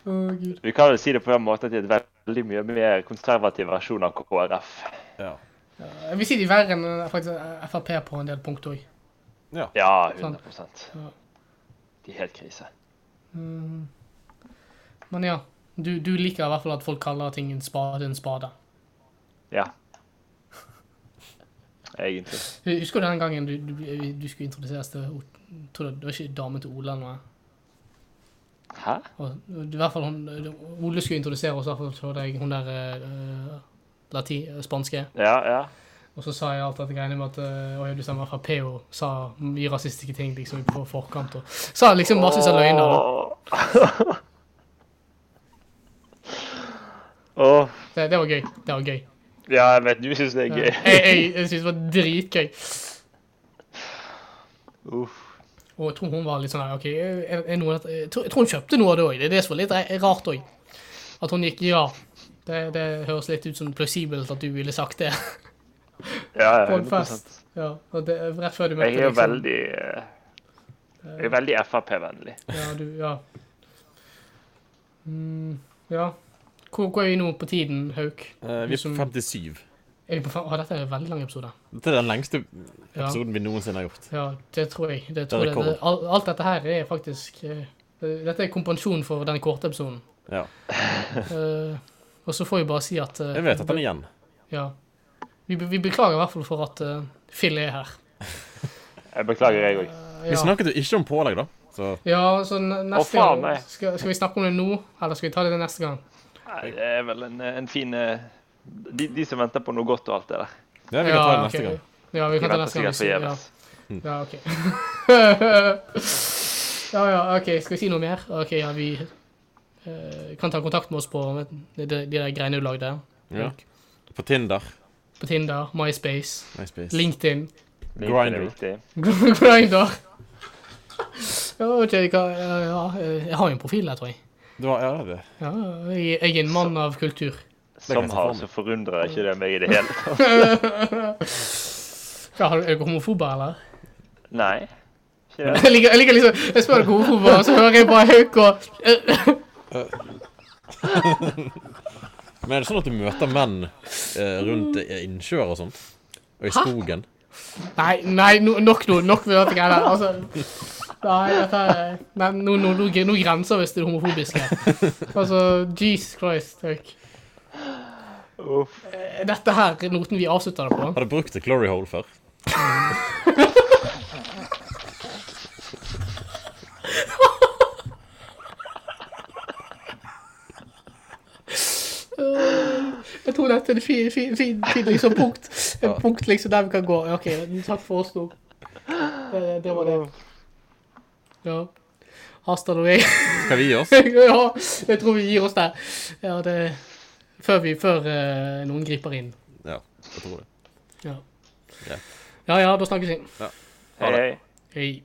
[SPEAKER 1] Å, gud.
[SPEAKER 3] Vi kan vel si det på den måten at de er et veldig mye mer konservativ versjon av KrF.
[SPEAKER 2] Ja.
[SPEAKER 1] Jeg vil si de er verre enn eh, faktisk eh, Frp på en del punkt òg.
[SPEAKER 3] Ja,
[SPEAKER 1] Sånn.
[SPEAKER 3] 100 De er helt krise.
[SPEAKER 1] Men ja, du, du liker i hvert fall at folk kaller ting en spade en spade.
[SPEAKER 3] Ja. Egentlig.
[SPEAKER 1] Husker du den gangen du, du, du skulle introduseres til O- tror det, det var ikke damen til Ole eller noe?
[SPEAKER 3] Hæ?
[SPEAKER 1] Og, I hvert fall hun, Ole skulle introdusere oss, i hvert fall til deg, hun der eh, lati, spanske.
[SPEAKER 3] Ja, ja.
[SPEAKER 1] Og så sa jeg alt dette greiene med at uh, Oi, du stemmer Frp og sa mye rasistiske ting liksom på forkant. Og sa liksom massevis av løgner. da.
[SPEAKER 3] Åh. Åh.
[SPEAKER 1] Det, det var gøy. Det var gøy.
[SPEAKER 3] Ja, jeg vet du syns det er
[SPEAKER 1] Jeg,
[SPEAKER 3] gøy.
[SPEAKER 1] jeg, jeg synes det var dritgøy.
[SPEAKER 3] Uff.
[SPEAKER 1] Og jeg tror hun var litt sånn her, ok, er, er noe, jeg, tror, jeg tror hun kjøpte noe av det òg. Det er det som er litt re- rart òg. At hun gikk ja. Det, det høres litt ut som plausibelt at du ville sagt det.
[SPEAKER 3] Ja, ja,
[SPEAKER 1] På en
[SPEAKER 3] 100
[SPEAKER 1] fest. Ja, og det, rett før du møtte
[SPEAKER 3] Jeg er jo
[SPEAKER 1] liksom-
[SPEAKER 3] veldig eh, Jeg er veldig Frp-vennlig.
[SPEAKER 1] Ja, du, ja. Mm, ja. Hvor, hvor er vi nå på tiden, Hauk?
[SPEAKER 2] Eh, Vi er på
[SPEAKER 1] Som-
[SPEAKER 2] 57.
[SPEAKER 1] Er vi på fem? Å, dette er en veldig lang episode.
[SPEAKER 2] Dette er den lengste
[SPEAKER 1] Ja,
[SPEAKER 2] episoden vi noensinne har gjort.
[SPEAKER 1] ja det tror jeg. Det tror
[SPEAKER 2] er
[SPEAKER 1] jeg.
[SPEAKER 2] rekord.
[SPEAKER 1] Det- al- alt dette her er faktisk eh, det- Dette er kompensjon for den korte episoden.
[SPEAKER 2] Ja.
[SPEAKER 1] Eh, og så får vi bare si at eh,
[SPEAKER 2] Jeg vet at den er igjen.
[SPEAKER 1] Ja. Vi, be- vi beklager i hvert fall for at eh, Phil er her.
[SPEAKER 3] Jeg beklager, jeg òg.
[SPEAKER 2] Vi
[SPEAKER 1] Ja,
[SPEAKER 2] snakket jo ikke om pålegg, da. Så
[SPEAKER 1] ja så ne- neste
[SPEAKER 3] faen,
[SPEAKER 1] gang
[SPEAKER 3] nei.
[SPEAKER 1] skal, skal vi snakke om det nå, eller skal vi ta det til neste gang?
[SPEAKER 3] Det er vel en, en fin eh, de, de som venter på noe godt og alt det der.
[SPEAKER 2] ja, vi kan ta det neste
[SPEAKER 1] ok. Ja,
[SPEAKER 2] gang.
[SPEAKER 1] vi
[SPEAKER 3] De
[SPEAKER 1] kan ta det neste
[SPEAKER 3] venter
[SPEAKER 1] gang.
[SPEAKER 3] sikkert
[SPEAKER 1] hvis- Ja,
[SPEAKER 3] forgjeves.
[SPEAKER 1] ja OK. ja, ja, OK. Skal vi si noe mer? OK, ja, vi eh, kan ta kontakt med oss på de, de der greiene du lagde.
[SPEAKER 2] Ja. På Tinder.
[SPEAKER 1] På Tinder, MySpace,
[SPEAKER 2] MySpace.
[SPEAKER 1] LinkedIn.
[SPEAKER 3] Det er
[SPEAKER 2] Grindr.
[SPEAKER 3] viktig.
[SPEAKER 1] Grinder. Ja, ok, hva, ja, eh, jeg har jo en profil der, tror jeg.
[SPEAKER 2] Du har, ja, det.
[SPEAKER 1] Ja, jeg, jeg er en mann av kultur.
[SPEAKER 2] kan jeg se for
[SPEAKER 3] Somehow
[SPEAKER 2] meg.
[SPEAKER 3] så forundrer ikke det meg i det hele tatt.
[SPEAKER 1] Hva, har du- er dere homofobe, eller?
[SPEAKER 3] Nei. Ikke det.
[SPEAKER 1] Jeg liker, jeg liker liksom, jeg spør dere homofobe, og så hører jeg bare Hauk og
[SPEAKER 2] Men er det sånn at du møter menn eh, rundt i innsjøer og sånt? Og i skogen?
[SPEAKER 1] Nei, nei, no, nok nå, nok med dette greiene. her, Altså, nei, dette er Nei, nå, nå, nå, nå grenser visst til det homofobiske. Altså, Jesus Christ, Hauk.
[SPEAKER 3] Uff.
[SPEAKER 1] Er Dette her er noten vi avslutter det på.
[SPEAKER 2] Har du brukt et glory hole før?
[SPEAKER 1] Jeg tror dette er et fint fin, fin, fin, liksom, punkt, Et punkt liksom, der vi kan gå. Ja, Ok, takk for oss nå. Det, det var det. Ja. Hasta la vega.
[SPEAKER 2] Skal vi gi oss?
[SPEAKER 1] ja, jeg tror vi gir oss der. Ja, det, før vi, før eh, noen griper inn.
[SPEAKER 2] Ja, jeg tror det.
[SPEAKER 1] Ja.
[SPEAKER 2] Ja.
[SPEAKER 1] ja, ja, da snakkes vi.
[SPEAKER 2] Ja. Ha
[SPEAKER 3] Hei,
[SPEAKER 2] det.
[SPEAKER 3] hei.
[SPEAKER 1] Hei.